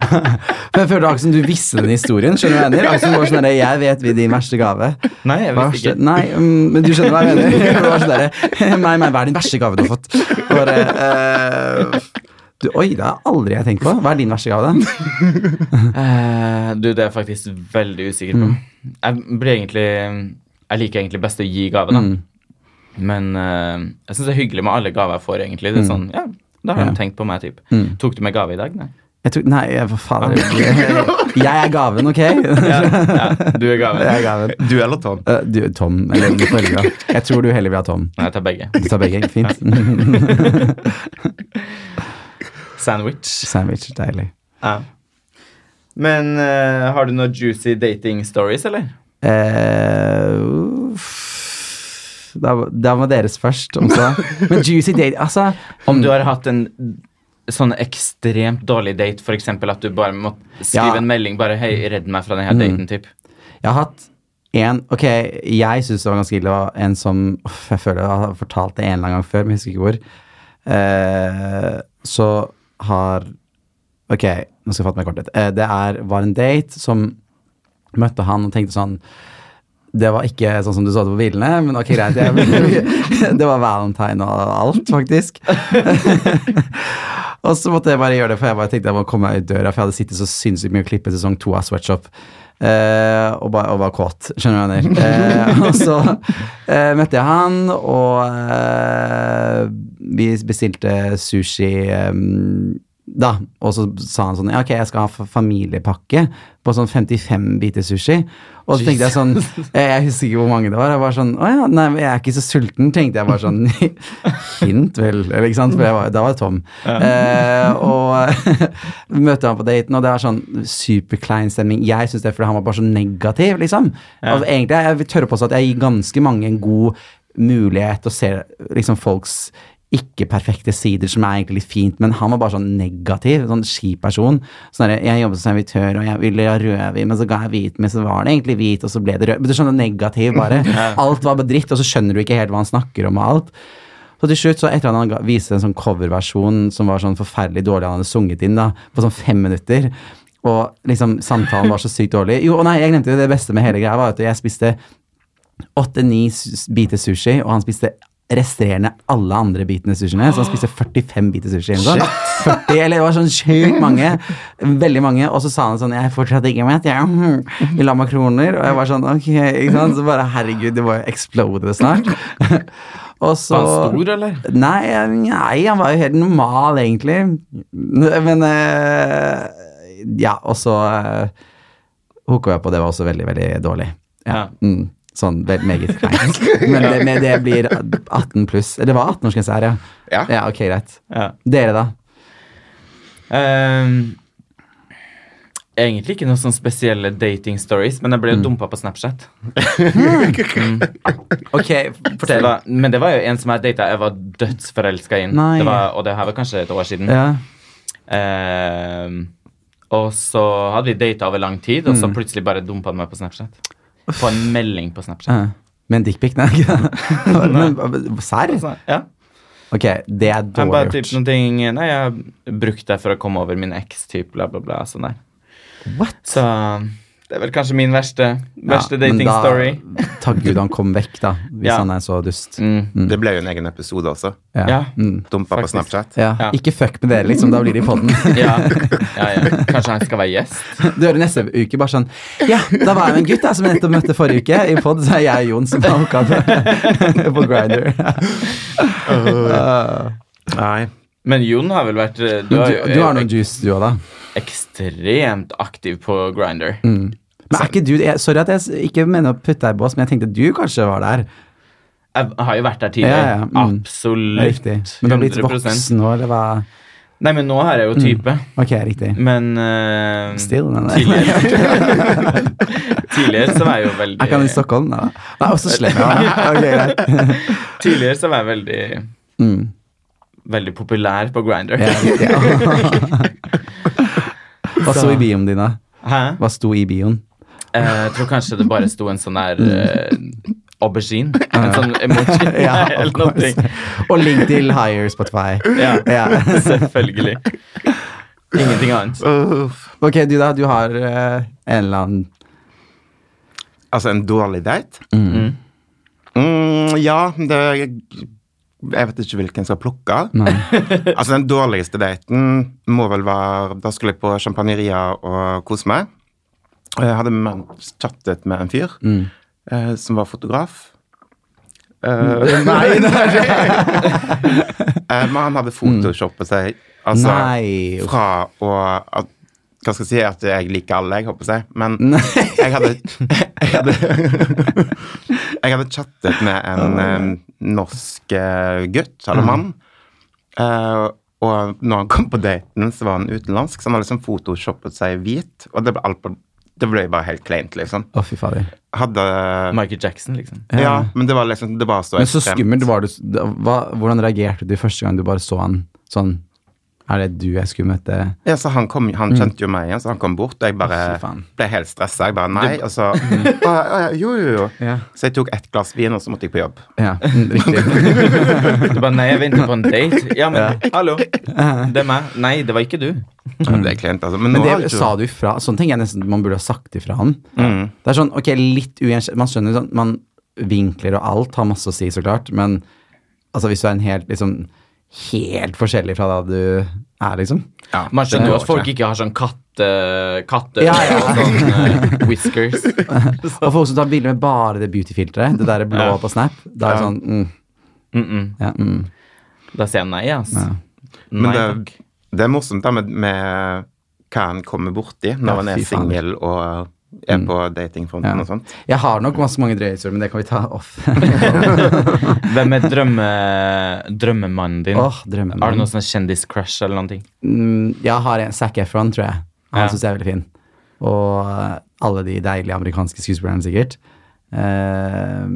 S1: Men jeg føler Aksen, du visste den historien. Skjønner du hva jeg mener? Aksen var sånn der, jeg vet vi din verste gave.
S2: Nei, jeg
S1: Hva er
S2: visste
S1: verste- Nei, mm, men du skjønner hva jeg mener. Det var sånn der, nei, nei, hva er din verste gave du har fått? Bare, eh, du, oi, det har aldri jeg tenkt på. Hva er din verste gave, da?
S2: Eh, du, det er jeg faktisk veldig usikker på.
S1: Mm.
S2: Jeg blir egentlig Jeg liker egentlig best å gi gave, da.
S1: Mm.
S2: Men eh, jeg syns det er hyggelig med alle gaver jeg får, egentlig. Det er sånn, ja, da har
S1: Mm. Ja. Mm.
S2: de tenkt på meg, typ. Tok du med gave i dag? Nei.
S1: Jeg tror, nei, jeg- hva faen er det? Jeg er gaven, ok? Jeg
S2: Ja, ja, du er gaven.
S1: er gaven.
S3: Du eller Tom?
S1: Eh, Du, Tom, eller du får velge. da. Jeg tror du heller vil ha Tom.
S2: Nei, jeg tar begge.
S1: Du tar begge, fint.
S2: Sandwich.
S1: Sandwich, deilig.
S2: Ja. Men eh, har du noen juicy dating stories, eller?
S1: Eh, uff. da, da må deres først. Om så. Men juicy date Altså,
S2: Om du har hatt en sånn ekstremt dårlig date, for eksempel at du bare måtte skrive
S1: Ja. Mm.
S2: en melding bare 'Hei, redd meg fra denne daten', typ.
S1: jeg har hatt en Ok, jeg syns det var ganske ille. og En som uff, Jeg føler jeg har fortalt det en eller annen gang før, men jeg husker ikke hvor. Eh, så har Ok, nå skal jeg fatte meg i korthet. Eh, det er, var en date som møtte han og tenkte sånn det var ikke sånn som du så det på bildene, men ok, greit. Jeg, det var valentine og alt, faktisk. og så måtte jeg bare gjøre det, for jeg bare tenkte jeg må komme meg ut døra, for jeg hadde sittet så sinnssykt mye og klippet sesong to av Sweatshop. eh, og, bare, og var kåt, skjønner du hva jeg mener. Eh, og så eh, møtte jeg han, og eh, vi bestilte sushi ehm, da, og så sa han sånn Ja, ok, jeg skal ha fa- familiepakke på sånn 55 biter sushi. Og så tenkte jeg sånn eh, Jeg husker ikke hvor mange det var. Jeg var sånn Å ja, nei, men jeg er ikke så sulten, tenkte jeg bare sånn. Hint vel, eller ikke sant? For jeg var, da var jeg tom. Eh, og møtte han på daten, og det var sånn superklein stemning. Jeg syns det er fordi han var bare så negativ, liksom. Altså, egentlig, jeg vil tørre på at jeg gir ganske mange en god mulighet til å se liksom, folks ikke-perfekte sider, som er egentlig litt fint, men han var bare sånn negativ, sånn skip person. Sånn der, jeg jobbet som servitør, og jeg ville ha rødvin, men så ga jeg hvit, men så var det egentlig hvit, og så ble det rød. Men du skjønner, negativ bare. Alt var bare dritt, og så skjønner du ikke helt hva han snakker om og alt. Så til slutt, så etter at han ga- viste en sånn coverversjon som var sånn forferdelig dårlig han hadde sunget inn, da, på sånn fem minutter, og liksom samtalen var så sykt dårlig. Jo, og nei, jeg glemte det, det beste med hele greia var at jeg spiste åtte-ni sus- biter sushi, og han spiste resterende alle andre bitene sushiene. Så han spiste 45 biter sushi. Eller noe sånt. 40, eller det var sånn sjukt mange. Veldig mange. Og så sa han sånn Jeg er fortsatt ikke mett, jeg mm, vil ha makroner. Og jeg var sånn Ok, ikke sant. Så bare herregud, det var jo exploded snart. Og så
S2: Var han stor, eller?
S1: Nei, nei, han var jo helt normal, egentlig. Men eh, Ja, og så eh, hooka jeg på. Det var også veldig, veldig dårlig. Ja.
S2: Ja.
S1: Mm. Sånn vel, meget kleint. Men det, men det blir 18 pluss. Det var 18-årsgrense her, ja.
S3: Ja.
S1: ok, greit.
S2: Ja.
S1: Dere, da?
S2: Ehm, egentlig ikke noen sånne spesielle dating stories, men jeg ble jo
S1: Mm.
S2: dumpa på Snapchat.
S1: Ok,
S2: Så da- men det var jo en som jeg data jeg var dødsforelska i.
S1: Nei.
S2: Det var- Og det her var kanskje et år siden.
S1: Ja.
S2: Ehm, og så hadde vi data over lang tid, og
S1: Mm.
S2: så plutselig bare dumpa han meg på Snapchat. På en melding på Snapchat.
S1: ja. Men dickpic, nei? ikke det? Men, Serr?
S2: Så, ja.
S1: Ok, det er
S2: Jeg
S1: dårlig
S2: bare typ
S1: gjort.
S2: noen ting Nei, jeg har brukt det for å komme over min eks, typ, bla, bla, bla. Sånn der.
S1: What?
S2: Så det er vel kanskje min verste, verste
S1: Ja, men
S2: dating
S1: da-
S2: story.
S1: Takk Gud han kom vekk, da, hvis
S2: Ja.
S1: han er så dust.
S2: Mm.
S3: Det ble jo en egen episode også.
S2: Ja.
S1: Mm.
S3: Dumpa på
S2: Faktisk.
S3: Snapchat.
S1: Ja.
S2: Ja.
S1: Ikke fuck med dere, liksom. Da blir de på den.
S2: Ja. ja, ja. Kanskje han skal være gjest?
S1: Du hører neste uke bare sånn Ja, da var jeg med en gutt jeg, som jeg nettopp møtte forrige uke. I pod så er jeg og Jon som har hooka opp på Grinder.
S3: Nei.
S2: Men Jon har vel vært eh,
S1: Du,
S2: Du, har jo-
S1: du har noen juice, du òg, da.
S2: ek ekstremt aktiv på Grinder.
S1: Mm. Men er ikke du jeg, Sorry at jeg s- ikke mener å putte deg i bås, men jeg tenkte du kanskje var der.
S2: Jeg har jo vært der tidligere.
S1: Ja, ja, mm.
S2: Absolutt.
S1: Riktig. Men du har blitt
S2: 100%.
S1: voksen nå, eller hva?
S2: Nei, men nå har jeg jo type.
S1: Ok, riktig.
S2: Men eh,
S1: Still, men
S2: tidligere Tidligere så var jeg jo veldig
S1: Er ikke han i Stockholm, da? Nei, også slem. Ja. Ok, greit.
S2: Tidligere så var jeg veldig
S1: Mm.
S2: Veldig populær på Grinder.
S1: Ja, riktig, ja. Hva sto i bioen din, da?
S2: Hæ?
S1: Hva sto i bioen?
S2: Eh, Jeg tror kanskje det bare sto en sånn der eh, aubergine. En sånn emoji
S1: Ja, of
S2: eller
S1: course.
S2: noe.
S1: Og link til Hire Spotify.
S2: Ja,
S1: Ja.
S2: selvfølgelig. Ingenting annet.
S3: Uff.
S1: Ok, du da, du har eh, en eller annen
S3: Altså, en dårlig date?
S2: Mm.
S3: Mm, ja, det Jeg vet ikke hvilken jeg skal plukke. av.
S1: Nei.
S3: Altså, den dårligste daten må vel være Da skulle jeg på Champagneria og kose meg. Og Jeg hadde med- chattet med en fyr
S1: Mm.
S3: eh, som var fotograf.
S1: Mm.
S3: Eh, nei, nei, Eh, Men han hadde photoshoppet seg. Altså,
S1: Nei. uff.
S3: fra å at, Hva skal jeg si? At jeg liker alle, jeg håper jeg. Men jeg hadde Jeg hadde, jeg hadde chattet med en eh, norsk eh, gutt eller mann. Eh, og når han kom på daten, så var han utenlandsk, så han hadde liksom photoshoppet seg hvit. Og det ble, alt på, det ble bare helt kleint, liksom.
S1: Å, fy fader.
S3: Hadde
S2: Michael Jackson, liksom.
S3: Ja, men det var liksom Det var så
S1: Men så
S3: ekstremt.
S1: skummelt var du s- da- hva, Hvordan reagerte du første gang du bare så han sånn Er det du jeg skulle møte?
S3: Ja, så han, kom, han kjente jo meg igjen, så han kom bort, og jeg bare
S1: Mm. Fy faen. Mm.
S3: ble helt stressa. Jeg bare nei, altså. og så «Å, å, Jo, jo, jo.
S1: Ja.
S3: Så jeg tok ett glass vin, og så måtte jeg på jobb.
S1: Ja, mm, riktig.
S2: Du bare Nei, jeg venter på en date. Ja, men hallo. Det er meg. Nei, det var ikke du.
S3: Men Det er klient, altså. Men,
S1: Mm. Men
S3: nå har
S1: det
S3: jeg
S1: sa
S3: ikke
S1: du ifra. Sånn tenker jeg nesten man burde ha sagt ifra han. Det er sånn, ok, litt ugjenkjent Man skjønner sånn, man vinkler og alt har masse å si, så klart, men altså hvis du er en helt liksom Helt forskjellig fra da du er, liksom.
S3: ja,
S2: Man skjønner
S3: det
S2: jo
S3: går
S2: at folk
S3: ikke.
S2: ikke har sånn katte... Katte
S1: Ja, ja.
S2: og sånn eh, whiskers.
S1: Og folk som tar bilder med bare det beautyfilteret, det der blå på Snap, da er det sånn mm,
S2: Mm -mm.
S1: ja, mm.
S2: Da sier jeg nei, ass.
S1: Ja.
S2: Nei,
S3: Men
S2: takk.
S3: det, det er morsomt da med, med hva han kommer borti når
S1: Ja,
S3: han er
S1: fy faen. Mm.
S3: singel og eh, er på datingfronten
S1: Ja.
S3: og sånt.
S1: Jeg har nok masse mange drøye historier, men det kan vi ta off.
S2: Hvem er drømme, drømmemannen din?
S1: Åh, drømmen.
S2: Har du noe sånn kjendiscrush eller noen ting?
S1: Mm, jeg har en Zac Efron, tror jeg. Han
S2: Ja.
S1: synes jeg er veldig fin. Og eh, alle de deilige amerikanske skuespillerne, sikkert. Eh,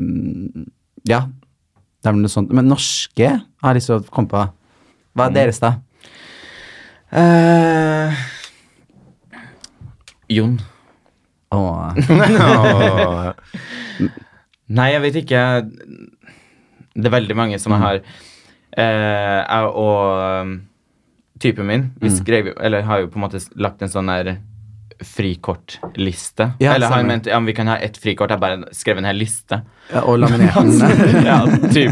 S1: ja. Det er vel noe sånt. Men norske har jeg lyst til å komme på. Hva
S2: Mm.
S1: er deres, da?
S2: Jon.
S1: Åh.
S3: Og-
S2: Nei, jeg vet ikke. Det er veldig mange
S1: Mm.
S2: som jeg har eh, jeg og um, typen min vi
S1: Mm.
S2: skrev, jo- Eller har jo på en måte lagt en sånn der frikortliste.
S1: Ja,
S2: eller han
S1: stemmer.
S2: mente ja, men vi kan ha ett frikort. Jeg bare skrev en hel liste.
S1: Ja, Og lamineringen.
S2: ja, typ.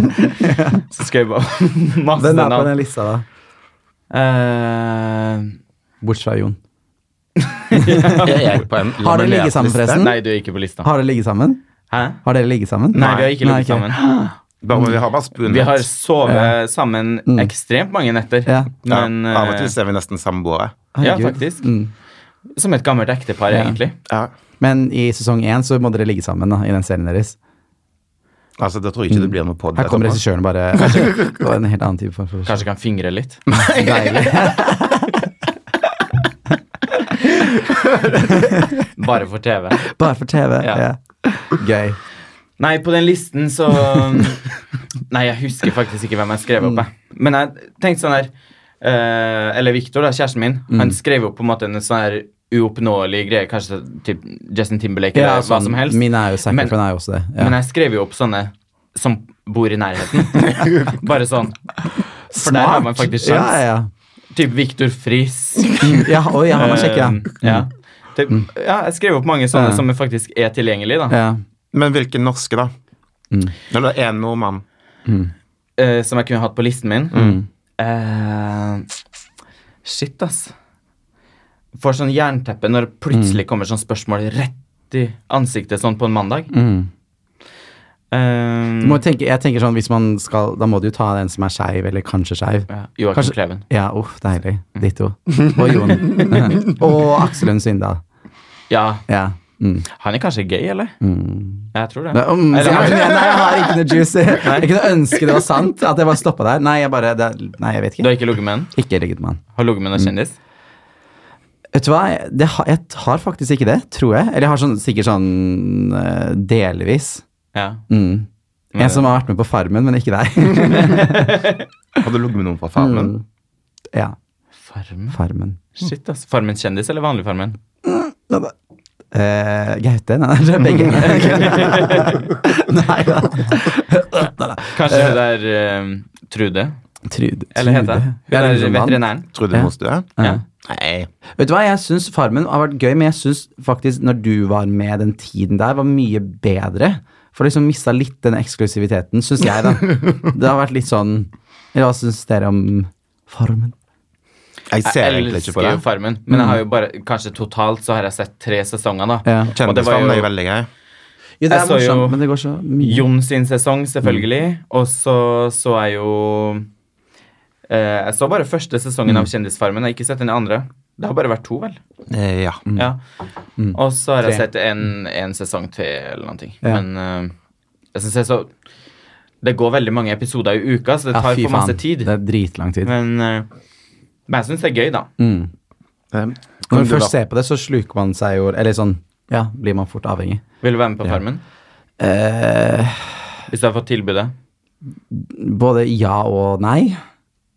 S2: Så skrev jeg bare masse
S1: Hvem er på
S2: navn.
S1: den lista, da?
S2: Eh,
S1: Bortsett fra Jon.
S3: er jeg på en
S1: Har dere ligget sammen,
S3: laminert liste?
S1: forresten?
S2: nei, du er ikke på lista.
S1: Har dere ligget sammen?
S2: Hæ?
S1: Har dere ligget sammen?
S2: Nei, vi har ikke
S1: Nei, ok.
S2: ligget sammen.
S3: Bare, vi har bare spunet.
S2: Vi har sovet sammen ekstremt mange netter.
S1: Mm. Ja.
S3: ja,
S2: Men
S3: av og
S2: eh,
S3: til så er vi nesten samboere.
S2: ja,
S1: Herregud.
S2: faktisk.
S1: Mm.
S2: Som et gammelt ektepar,
S1: Ja.
S2: egentlig.
S3: Ja.
S1: Men i sesong én så må dere ligge sammen da, i den serien deres.
S3: Altså, da tror jeg ikke det blir noe på det.
S1: Mm. Her kommer
S3: etterpå.
S1: regissøren bare og en helt annen type for, for
S2: Kanskje kan fingre litt.
S1: Deilig.
S2: Bare for TV.
S1: Bare for TV.
S2: Ja.
S1: Ja. Gøy.
S2: Nei, på den listen så Nei, jeg husker faktisk ikke hvem jeg skrev opp. Jeg.
S1: Mm.
S2: Men jeg tenkte sånn her eh, Eller Victor, da, kjæresten min,
S1: Mm.
S2: han skrev jo på en måte en sånn her uoppnåelig greie, kanskje typ Justin Timberlake eller hva
S1: sånn,
S2: som helst.
S1: Min er jo Zac
S2: Men-
S1: Efron er jo også det. Ja.
S2: Men eh, jeg skrev jo opp sånne som bor i nærheten. Bare sånn. For der har man faktisk
S1: Ja,
S2: sjans.
S1: ja,
S2: Typ Victor Friis.
S1: ja. ja oi, ja, han var kjekk, ja. Mm.
S2: Eh, ja. Det, ja, jeg skrev opp mange sånne
S1: Ja.
S2: som faktisk er tilgjengelige, da.
S1: Mm. ja.
S3: Men hvilken norske, da?
S1: Mm.
S3: Når det er en nordmann.
S2: Eh, som jeg kunne hatt på listen min.
S1: Mm.
S2: Eh, shit, ass. Får sånn jernteppe når det
S1: Mm.
S2: plutselig kommer sånn spørsmål rett i ansiktet sånn på en mandag.
S1: Mm.
S2: Eh,
S1: Du Må tenke, jeg tenker sånn, hvis man skal, Da må du jo ta en som er skeiv, eller kanskje skeiv.
S2: ja, Joakim
S1: Kanskje-
S2: Kleven. Mm.
S1: Ja, uff, deilig. Ditto. Og Jon. og Aksel Lund Svindal.
S2: Ja,
S1: Ja. Mm.
S2: han er kanskje gay, eller? Jeg tror det.
S1: Nei, om,
S2: Eller-
S1: nei, nei, jeg har ikke noe juice. Jeg kunne ønske det var sant. At jeg bare stoppa der. Nei, jeg bare det, Nei, jeg vet
S2: Du
S1: ikke.
S2: har ikke ligget med en?
S1: Ikke ligget med han.
S2: Har ligget
S1: Mm.
S2: med en kjendis?
S1: Vet du hva, jeg, det, har- jeg har faktisk ikke det, tror jeg. Eller jeg har sånn, sikkert sånn eh, delvis.
S2: Ja.
S1: Mm.
S2: Men-
S1: En som har vært med på Farmen, men ikke deg.
S3: Har du ligget med noen fra Farmen?
S1: Mm. ja,
S2: Farmen?
S1: Farmen.
S2: Shit, ass. Farmen kjendis eller vanlig Farmen?
S1: Eh, Gaute? Nei, det er begge. nei da.
S2: Kanskje det der eh, Trude?
S1: Trude.
S2: Eller heter det? Hun
S1: Ja,
S2: er
S1: liksom vann.
S2: veterinæren.
S3: Trude
S1: Ja.
S3: Mostø?
S2: Ja.
S3: Nei.
S1: Vet du hva, jeg syns Farmen har vært gøy, men jeg syns faktisk når du var med den tiden der, var mye bedre. For liksom mista litt den eksklusiviteten, syns jeg, da. Det har vært litt sånn Eller hva syns dere om Farmen?
S3: Jeg ser
S2: Jeg
S3: egentlig ikke på
S2: elsker jo
S3: det.
S2: Farmen, men jeg har jo bare, kanskje totalt så har jeg sett tre sesonger, da.
S1: Ja.
S2: Og det var
S3: Kjendisfarmen er jo
S2: jo
S3: veldig gøy.
S1: Jo, det
S2: Jeg
S1: er
S2: så jo-
S1: morsomt, men det går så mye.
S2: Jon sin sesong, selvfølgelig. Og så så jeg jo eh, Jeg så bare første sesongen av Kjendisfarmen. Jeg har ikke sett den andre. Det har bare vært to, vel.
S3: Eh, Ja.
S2: Ja. Og så har jeg
S1: Tre.
S2: sett en, en sesong til eller noen ting.
S1: Ja.
S2: Men eh, jeg syns jeg så Det går veldig mange episoder i uka, så det
S1: Ja,
S2: tar
S1: fy
S2: for masse
S1: faen.
S2: tid.
S1: Det er dritlang tid.
S2: Men, eh, men jeg syns det er gøy, da.
S1: Mm. Når
S3: Eh, om
S1: man
S3: du
S1: først
S3: da-
S1: ser på det, så sluker man seg jo Eller sånn, ja, blir man fort avhengig.
S2: Vil du være med på Farmen?
S1: Eh,
S2: Hvis du har fått tilbudet?
S1: både ja og nei.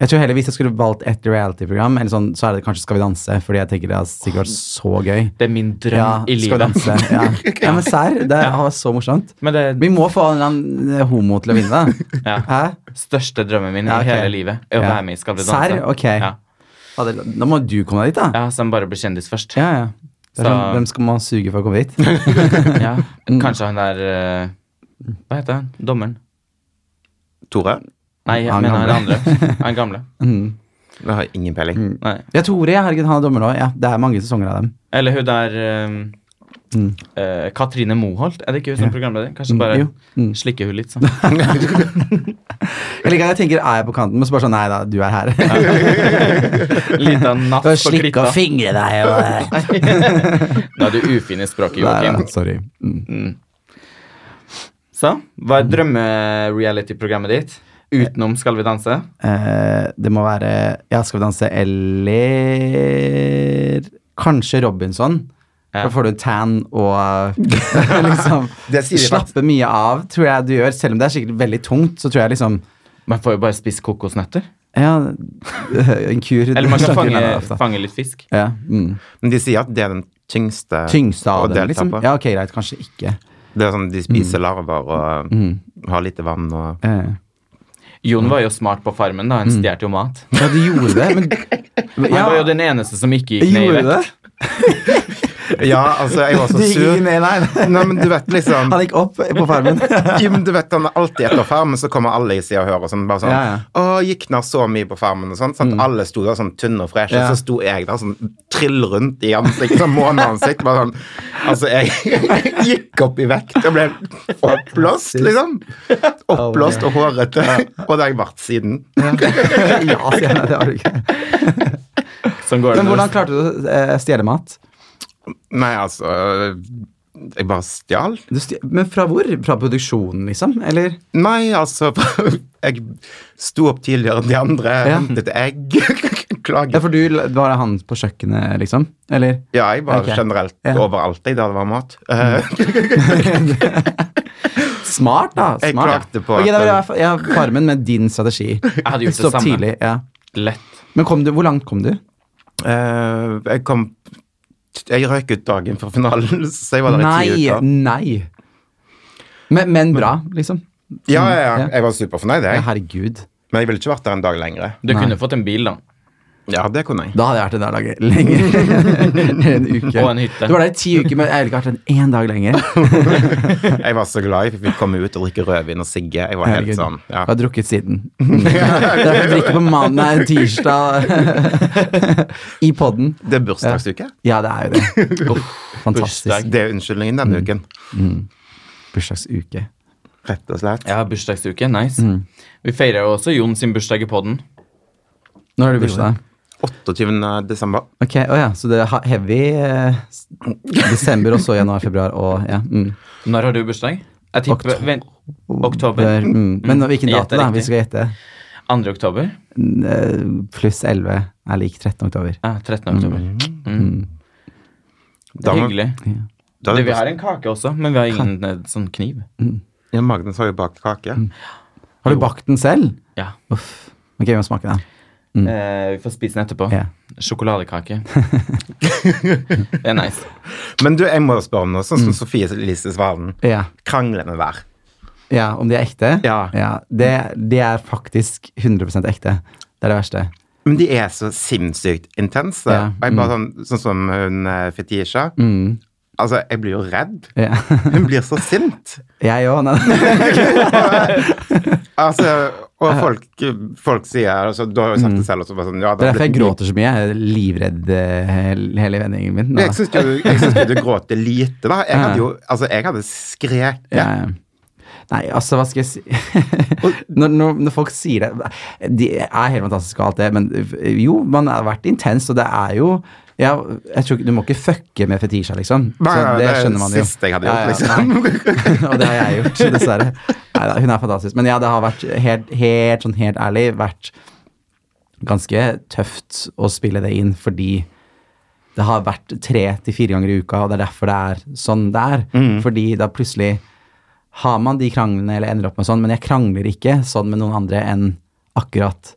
S1: Jeg tror heller Hvis jeg skulle valgt et reality-program, eller sånn, så er det kanskje Skal vi danse. Fordi jeg tenker det har sikkert vært så gøy.
S2: Det er min drøm
S1: Ja,
S2: i
S1: Skal vi
S2: livet.
S1: danse. Ja, ja men serr, det har vært så morsomt.
S2: Men det
S1: Vi må få en eller annen eh, homo til å vinne, da.
S2: ja.
S1: Hæ?
S2: største drømmen min
S1: Ja, ok.
S2: i hele livet er å
S1: Ja.
S2: være med i Skal vi danse.
S1: Serr? Ok.
S2: Ja.
S1: Ja, det- Da må du komme deg dit, da.
S2: ja, så jeg bare blir kjendis først.
S1: Ja, ja. Det er
S2: Så-
S1: sånn, hvem skal man suge for å komme dit?
S2: Ja.
S1: Mm.
S2: Kanskje han der eh, Hva heter han? Dommeren?
S3: Tore?
S2: Nei, jeg
S1: Han
S2: mener han
S1: gamle.
S2: andre. Han gamle.
S1: Mm.
S3: Jeg har ingen peiling.
S2: Nei.
S1: Ja, Tore, herregud, han er dommer nå. Ja, det er mange sesonger av dem.
S2: Eller hun der eh,
S1: Mm.
S2: eh, Katrine Moholt, er det ikke hun som er programleder? Kanskje
S1: jo.
S2: bare
S1: Mm.
S2: slikke hun litt, sånn.
S1: Jeg liker at jeg tenker er jeg på kanten, men så bare sånn nei da, du er her.
S2: Lita natt
S1: Bare
S2: på
S1: slikk
S2: klitta.
S1: og fingre deg og
S2: Nå er du ufin i
S1: Nei,
S2: språket, Joakim.
S1: nei, Sorry. Mm.
S2: Så, hva er drømme-reality-programmet ditt? Utenom Skal vi danse?
S1: Eh, det må være Ja, Skal vi danse eller Kanskje Robinson.
S2: Ja.
S1: Da får du en tan og liksom
S3: Det sier de faktisk.
S1: Slappe mye av, tror jeg du gjør. Selv om det er sikkert veldig tungt, så tror jeg liksom
S2: Man får jo bare spise kokosnøtter.
S1: Ja, en kur
S2: Eller man kan
S1: Slappe
S2: fange,
S1: unna det, da.
S2: fange litt fisk.
S1: ja, mm.
S3: Men de sier at det er den tyngste
S1: Tyngste
S3: å
S1: av
S3: delta
S1: dem, liksom.
S3: på.
S1: Ja, ok, greit, kanskje ikke.
S3: Det er sånn de spiser larver og har lite vann og
S1: Eh.
S2: Jon var jo smart på farmen, da. Han stjal jo mat.
S1: Ja, du gjorde det, men
S2: Han var jo den eneste som ikke gikk ned i
S1: Gjorde du
S2: vekt.
S1: det?
S3: Ja, altså, jeg var så
S1: Du gikk ikke
S3: sur.
S1: ned, nei.
S3: Nei, men du vet liksom
S1: Han gikk opp på farmen.
S3: jo, men du vet, han er alltid etter farmen, så kommer alle i sida og hører og sånn. Bare sånn
S1: Ja, ja.
S3: 'Å, gikk ned så mye på farmen', og sånn. sant? Alle sto der sånn tynne og freshe,
S1: Ja.
S3: og så sto jeg der sånn trill rundt i ansiktet, sånn måneansikt. Bare sånn Altså, jeg gikk opp i vekt og ble oppblåst, liksom. Oppblåst og hårete. Og det har jeg vært siden.
S1: Ja, sier jeg, nei, det var du ikke.
S2: Sånn
S1: Men
S2: går det når du-
S1: hvordan klarte du å eh, stjele mat?
S3: Nei, altså Jeg bare stjal.
S1: Du stj- men fra hvor? Fra produksjonen, liksom? Eller?
S3: Nei, altså Jeg sto opp tidligere enn de andre,
S1: Ja.
S3: hentet egg.
S1: Ja,
S3: Klager.
S1: for du l- var det han på kjøkkenet, liksom? Eller?
S3: Ja, jeg var
S1: Ok.
S3: generelt
S1: Ja. Mm.
S3: overalt jeg, der det var mat. Eh,
S1: Smart, da.
S3: Jeg
S1: Smart.
S3: klagde på
S1: Ok,
S3: at-
S1: da vil jeg, ha- jeg har farmen med din strategi.
S2: Jeg hadde gjort
S1: Stå
S2: det
S1: opp
S2: samme.
S1: tidlig. Ja.
S2: Lett.
S1: Men kom du, hvor langt kom du?
S3: eh, jeg kom Jeg røyk ut dagen før finalen, så jeg var der i ti
S1: Nei,
S3: uker.
S1: nei. Men, men bra, liksom.
S3: Ja, ja, ja.
S1: Ja.
S3: Jeg var superfornøyd,
S1: Ja,
S3: jeg.
S1: herregud.
S3: Men jeg ville ikke vært der en dag lenger.
S2: Du
S1: Nei.
S2: kunne fått en bil, da.
S3: Ja, det kunne jeg.
S1: Da hadde jeg vært i der dagen lenger. en uke.
S2: Og en hytte.
S1: Du var der i ti uker, men jeg ville ikke vært der en én dag lenger.
S3: Jeg var så glad jeg fikk komme ut og drikke rødvin og sigge. Jeg var helt
S1: Herregud.
S3: sånn ja.
S1: Jeg har drukket siden. Mm. Derfor drikker på mandag en tirsdag i podden.
S3: Det er bursdagsuke.
S1: Ja, det er jo det. Fantastisk.
S3: Det er unnskyldningen denne
S1: Mm.
S3: uken,
S1: Bursdagsuke.
S3: rett og slett.
S2: Ja, bursdagsuke. Nice. Vi feirer jo også Jon sin bursdag i podden.
S1: Når er det bursdag?
S3: 28. desember.
S1: Ok, å ja, Så det er ha- heavy eh, s- desember, og så januar, februar og ja. Mm.
S2: Når har du bursdag? Jeg tipper
S1: Oktober.
S2: vent, Oktober.
S1: Bør- Mm. Men nå- hvilken
S2: Jeg
S1: dato,
S2: gjetter
S1: da? Vi
S2: riktig.
S1: skal gjette.
S2: 2. oktober?
S1: N- eh, Pluss 11 er lik 13 oktober.
S2: Ja, 13. oktober. Mm. Det
S3: Da
S2: er
S3: må-
S2: hyggelig.
S3: Da er
S2: Det,
S3: det
S2: vi har en kake også, men vi har ingen eh, sånn kniv.
S3: Ja, Magnus har jo bakt kake.
S1: Mm. Har du bakt den selv?
S2: Ja.
S1: Uff. Ok, vi må smake den.
S2: Eh, vi får spise den etterpå.
S1: Ja.
S2: Sjokoladekake. det er nice.
S3: Men du, jeg må jo spørre om noe, sånn
S1: Mm.
S3: som Sofie Elise Svalen.
S1: Ja.
S3: Kranglene der.
S1: Ja, om de er ekte?
S3: Ja.
S1: det, de er faktisk 100 ekte. Det er det verste.
S3: Men de er så sinnssykt intense.
S1: Ja, Mm.
S3: Og jeg bare sånn, sånn som hun eh, Fetisha. Altså, jeg blir jo redd.
S1: Ja.
S3: Hun blir så sint.
S1: Jeg òg.
S3: Altså, og folk, folk sier altså, Du har jo sagt det selv også, bare sånn ja,
S1: Mm. Det er
S3: har
S1: derfor jeg
S3: blitt mye-
S1: gråter så mye. Jeg er livredd eh, hel- hele vendingen min. nå.
S3: Jeg syns jo, jeg syns jo du gråter lite, da. Jeg hadde jo altså, jeg hadde skreket.
S1: Jeg- Nei, altså, hva skal jeg si når, når, når folk sier det De er helt fantastiske og alt det, men jo, man har vært intens, og det er jo ja, jeg tror, ikke- Du må ikke fucke med Fetisha, liksom.
S3: Nei, nei, det er
S1: skjønner man jo.
S3: sist jeg hadde gjort, liksom.
S1: nei. og det har jeg gjort, dessverre. Neida, hun er fantastisk. Men ja, det har vært helt, helt, sånn, helt ærlig vært ganske tøft å spille det inn fordi det har vært tre til fire ganger i uka, og det er derfor det er sånn det er. Fordi da plutselig har man de kranglene eller ender opp med sånn, men jeg krangler ikke sånn med noen andre enn akkurat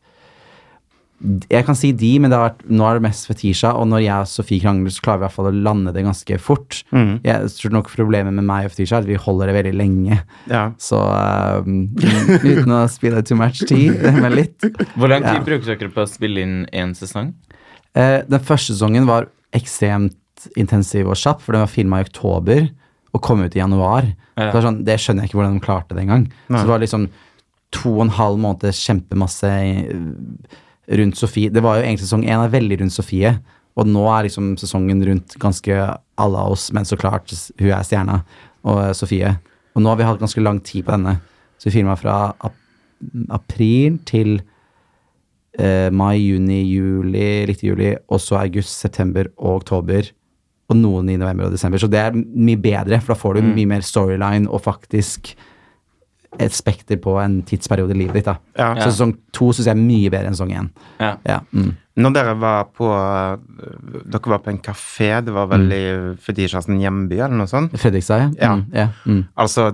S1: jeg kan si de, men det har vært, nå er det mest Fetisha, og når jeg og Sofie krangler, så klarer vi i hvert fall å lande det ganske fort. Jeg tror nok problemet med meg og Fetisha er at vi holder det veldig lenge.
S3: Ja.
S1: Så um, uten å spille too much tid, men litt.
S2: Hvor lang tid
S1: Ja.
S2: bruker dere på å spille inn én sesong?
S1: Eh, den første sesongen var ekstremt intensiv og kjapp, for den var filma i oktober og kom ut i januar. Så
S2: Ja.
S1: det, er sånn, det skjønner jeg ikke hvordan de klarte det engang. Så det var liksom to og en halv måned kjempemasse eh, rundt Sofie. Det var jo egentlig sesong én er veldig rundt Sofie, Og nå er liksom sesongen rundt ganske alle av oss, men så klart hun er stjerna, og eh, Sofie. Og nå har vi hatt ganske lang tid på denne. Så vi filma fra ap april til eh, mai, juni, juli, litt i juli, og så august, september og oktober. Og noen i november og desember. Så det er mye bedre, for da får du mye mer storyline og faktisk et spekter på en tidsperiode i livet ditt. da.
S3: Ja.
S1: Så sesong to syns jeg er mye bedre enn sesong én.
S2: Ja.
S1: Ja. Mm.
S3: Når dere var på eh, Dere var på en kafé, det var vel i
S1: Mm.
S3: Fetisjasens hjemby eller noe sånt.
S1: Fredrikstad, ja.
S3: Ja.
S1: Mm, ja. Mm.
S3: Altså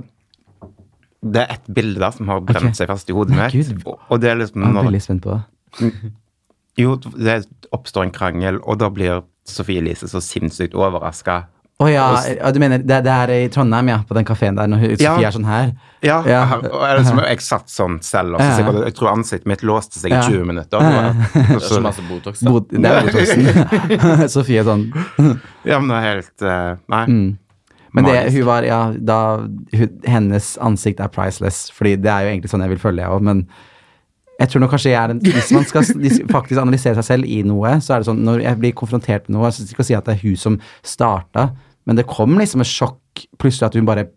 S3: Det er ett bilde der som har brent
S1: Ok.
S3: seg fast i hodet
S1: Nei,
S3: mitt.
S1: Gud.
S3: Og, og det er liksom
S1: Jeg er
S3: når,
S1: veldig spent på det.
S3: Jo, det oppstår en krangel, og da blir Sofie Elise så sinnssykt overraska.
S1: Å ja,
S3: Og s-
S1: ja, du mener det, det er i Trondheim, ja, på den kafeen der, når hun- Sofie
S3: Ja.
S1: er sånn her?
S3: Ja,
S1: Ja.
S3: her- og jeg, liksom, jeg satt sånn selv, og så
S1: Ja.
S3: sikkert, jeg tror ansiktet mitt låste seg i
S1: Ja.
S3: 20 minutter. og det var- og
S2: Det er så
S3: så-
S2: masse Botox, da.
S1: Bod, det er Botoxen. Sofie er sånn
S3: Ja, men det er helt eh, Nei.
S1: Mm. Men det,
S3: Magisk.
S1: hun var, ja, da, hun, hennes ansikt er priceless, fordi det er jo egentlig sånn jeg vil følge, jeg òg, men jeg tror nok kanskje jeg er den, Hvis man skal s- dis- faktisk analysere seg selv i noe, så er det sånn når jeg blir konfrontert med noe Jeg skal ikke si at det er hun som starta, men det kom liksom et sjokk plutselig at hun bare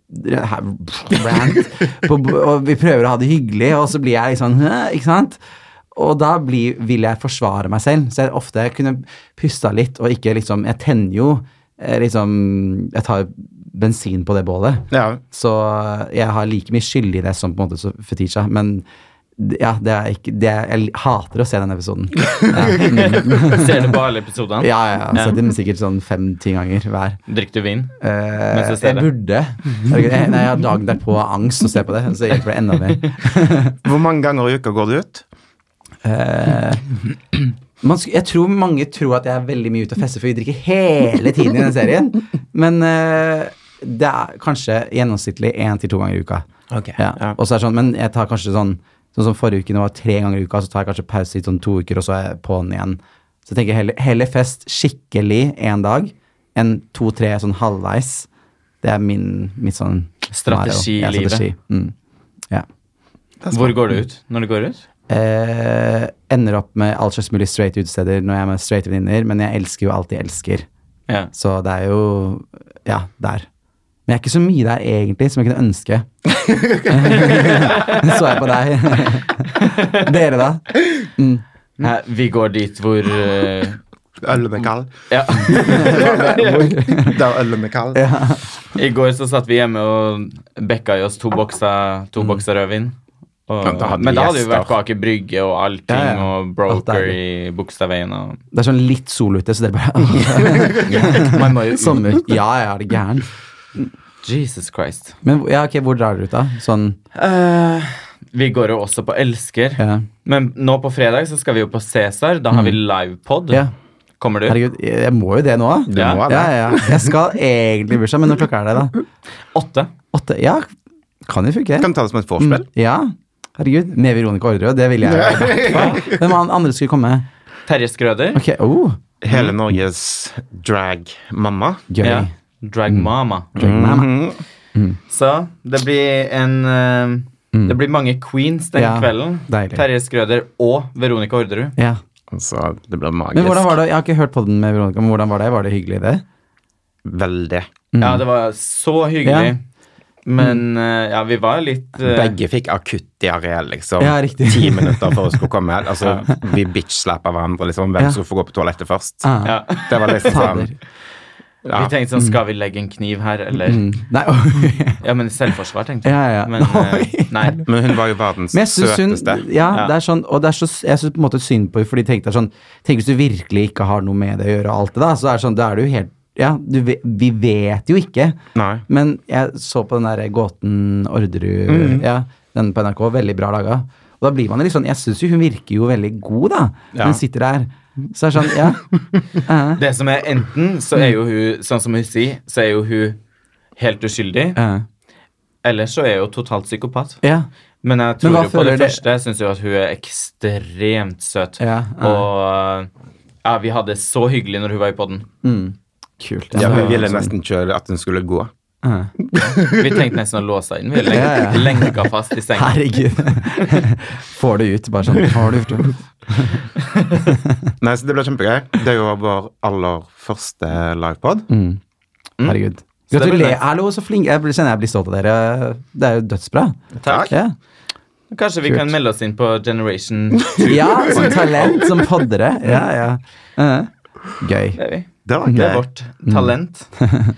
S1: her- rant, på, og vi prøver å ha det hyggelig, og så blir jeg liksom «Hæ?» Ikke sant? Og da blir, vil jeg forsvare meg selv, så jeg ofte kunne pusta litt og ikke liksom Jeg tenner jo eh, liksom Jeg tar bensin på det bålet.
S3: Ja.
S1: Så eh, jeg har like mye skyld i det som på en måte så Fetisha, men d- ja, det er ikke det er, Jeg hater å se den episoden. Ja, mm.
S2: Ser du på alle episodene?
S1: ja, ja, jeg har sett den sikkert sånn fem-ti ganger hver.
S2: Drikker du vin?
S1: Eh,
S2: Mens du
S1: jeg
S2: ser det.
S1: burde. Herregud, jeg- Nei, jeg har dagen derpå angst å se på det, så hjelper det enda mer.
S3: Hvor mange ganger i uka går du ut?
S1: Eh, man, sk- jeg tror mange tror at jeg er veldig mye ute og fester, for vi drikker hele tiden i den serien. Men eh, det er kanskje gjennomsnittlig én til to ganger i uka. Ja.
S3: Ja.
S1: Og så er det sånn, men jeg tar kanskje sånn Sånn som forrige uke, nå var det tre ganger i uka, så tar jeg kanskje pause i sånn to uker, og så er jeg på'n igjen. Så jeg tenker heller, heller fest skikkelig én dag enn to-tre sånn halvveis. Det er min, mitt sånn
S2: Strategi i
S1: scenario. Ja,
S2: livet.
S1: strategi. Mm. Ja.
S2: Hvor går du ut når du går ut?
S1: Eh, ender opp med all slags mulig straight utesteder når jeg er med straight venninner, men jeg elsker jo alt jeg elsker.
S2: Ja.
S1: Så det er jo ja, der. Men jeg er ikke så mye der egentlig som jeg kunne ønske. så jeg på deg. Dere, da?
S2: Nei, vi går dit hvor eh,
S3: Ølen er kald.
S2: Ja.
S3: Der ølen er kald.
S2: I går så satt vi hjemme og bekka i oss to bokser, to bokser rødvin. Og,
S3: Ja, da hadde vi
S2: men da hadde vi
S3: gjester.
S2: vært bak i brygge og allting,
S1: Ja, ja.
S2: og
S1: Alt
S2: broker
S1: deilig.
S2: i Bogstadveien og
S1: Det er sånn litt sol ute, så dere bare
S2: Man må jo
S1: Sommer. Ja, ja, er det gæren?
S2: Jesus Christ.
S1: Men hvor- ja, ok, hvor drar dere ut, da? Sånn
S2: vi går jo også på Elsker.
S1: ja. Mm.
S2: Men nå på fredag så skal vi jo på Cæsar. Da har vi livepod.
S1: Ja.
S2: Kommer du?
S1: Herregud, jeg må jo det nå.
S3: Du
S2: Ja.
S3: må
S1: Ja,
S3: det.
S1: ja. Jeg skal egentlig i bursdag, men når klokka er det, da?
S2: Åtte.
S1: Åtte? Ja, kan jo funke.
S3: Kan ta det som et vorspiel.
S1: Mm, Ja. Herregud. Med Veronica Orderud, det ville jeg. i hvert fall. Hvem an- andre skulle komme?
S2: Terje Skrøder.
S1: Ok, oh,
S3: Hele Norges drag-mamma. Mhm.
S1: gøy.
S2: Ja. Drag
S1: Mm.
S2: Mama.
S1: Mamma.
S2: Så det blir en eh, Det blir mange queens den
S1: Mm. Ja,
S2: kvelden.
S1: deilig.
S2: Terje Skrøder og Veronica Orderud.
S1: Ja.
S3: Så det blir magisk.
S1: Men hvordan var det? Jeg har ikke hørt på den med Veronica, men hvordan var det? Var det hyggelig, det?
S3: Veldig.
S1: Mm.
S2: Ja, det var så hyggelig. Men eh, ja, vi var litt eh,
S3: Begge fikk akutt diaré, liksom.
S1: Ja, riktig.
S3: Ti minutter før hun skulle komme. Altså, vi bitch-slappa hverandre, liksom. Hvem
S1: Ja.
S3: skulle få gå på toalettet først?
S1: Ah,
S2: ja.
S3: Det var liksom sånn.
S1: Fader.
S3: Ja.
S2: Vi tenkte sånn, skal vi legge en kniv her, eller
S1: Mm. Nei, oi.
S2: Ja, men selvforsvar, tenkte jeg.
S1: ja, ja.
S2: Men eh,
S1: Oi.
S2: nei.
S3: Men hun var jo verdens
S1: Men jeg synes hun,
S3: søteste.
S1: ja,
S2: Ja.
S1: det er sånn, og det er så, jeg synes på en måte synd på henne, fordi tenk deg sånn, tenk hvis du virkelig ikke har noe med det å gjøre og alt det da, så er det sånn, da er du helt, ja, du, ve- vi vet jo ikke.
S3: Nei.
S1: Men jeg så på den der gåten Orderud,
S3: Mm.
S1: ja, den på NRK, veldig bra laga. Og da blir man jo litt sånn, jeg synes jo hun virker jo veldig god da,
S3: Ja.
S1: hun sitter der. Så er det sånn, ja. Eh,
S2: Det som er enten, så er jo hun, sånn som hun sier, så er jo hun helt uskyldig.
S1: eh,
S2: Eller så er hun totalt psykopat.
S1: ja.
S2: Men jeg
S1: Men
S2: tror
S1: hva
S2: jo på det
S1: føler dere-
S2: første. Jeg syns jo at hun er ekstremt søt.
S1: Ja, ja.
S2: Og ja, vi hadde det så hyggelig når hun var i poden.
S1: Mm. Kult.
S3: Ja,
S1: så-
S3: hun ville nesten ikke at hun skulle gå.
S1: Ja.
S2: Vi tenkte nesten å låse deg inn. Vi
S1: Ja, ja.
S2: lenka, lenka fast i senga.
S1: Herregud. Får det ut, bare sånn. Har du gjort det?
S3: Nei, så det ble kjempegøy. Det er jo vår aller første livepod.
S1: Mm. Herregud.
S2: Så det blir
S1: Gratulerer.
S2: nice.
S1: Hallo, så flink. Jeg blir- kjenner jeg blir stolt av dere. Det er jo dødsbra.
S2: Takk.
S1: Ja,
S2: Kanskje vi kan melde oss inn på Generation 2.
S1: ja som talent, som poddere. Ja, ja. Eh, Gøy.
S2: Det er vi.
S3: Det var
S2: Det er
S3: gøy.
S2: vårt talent.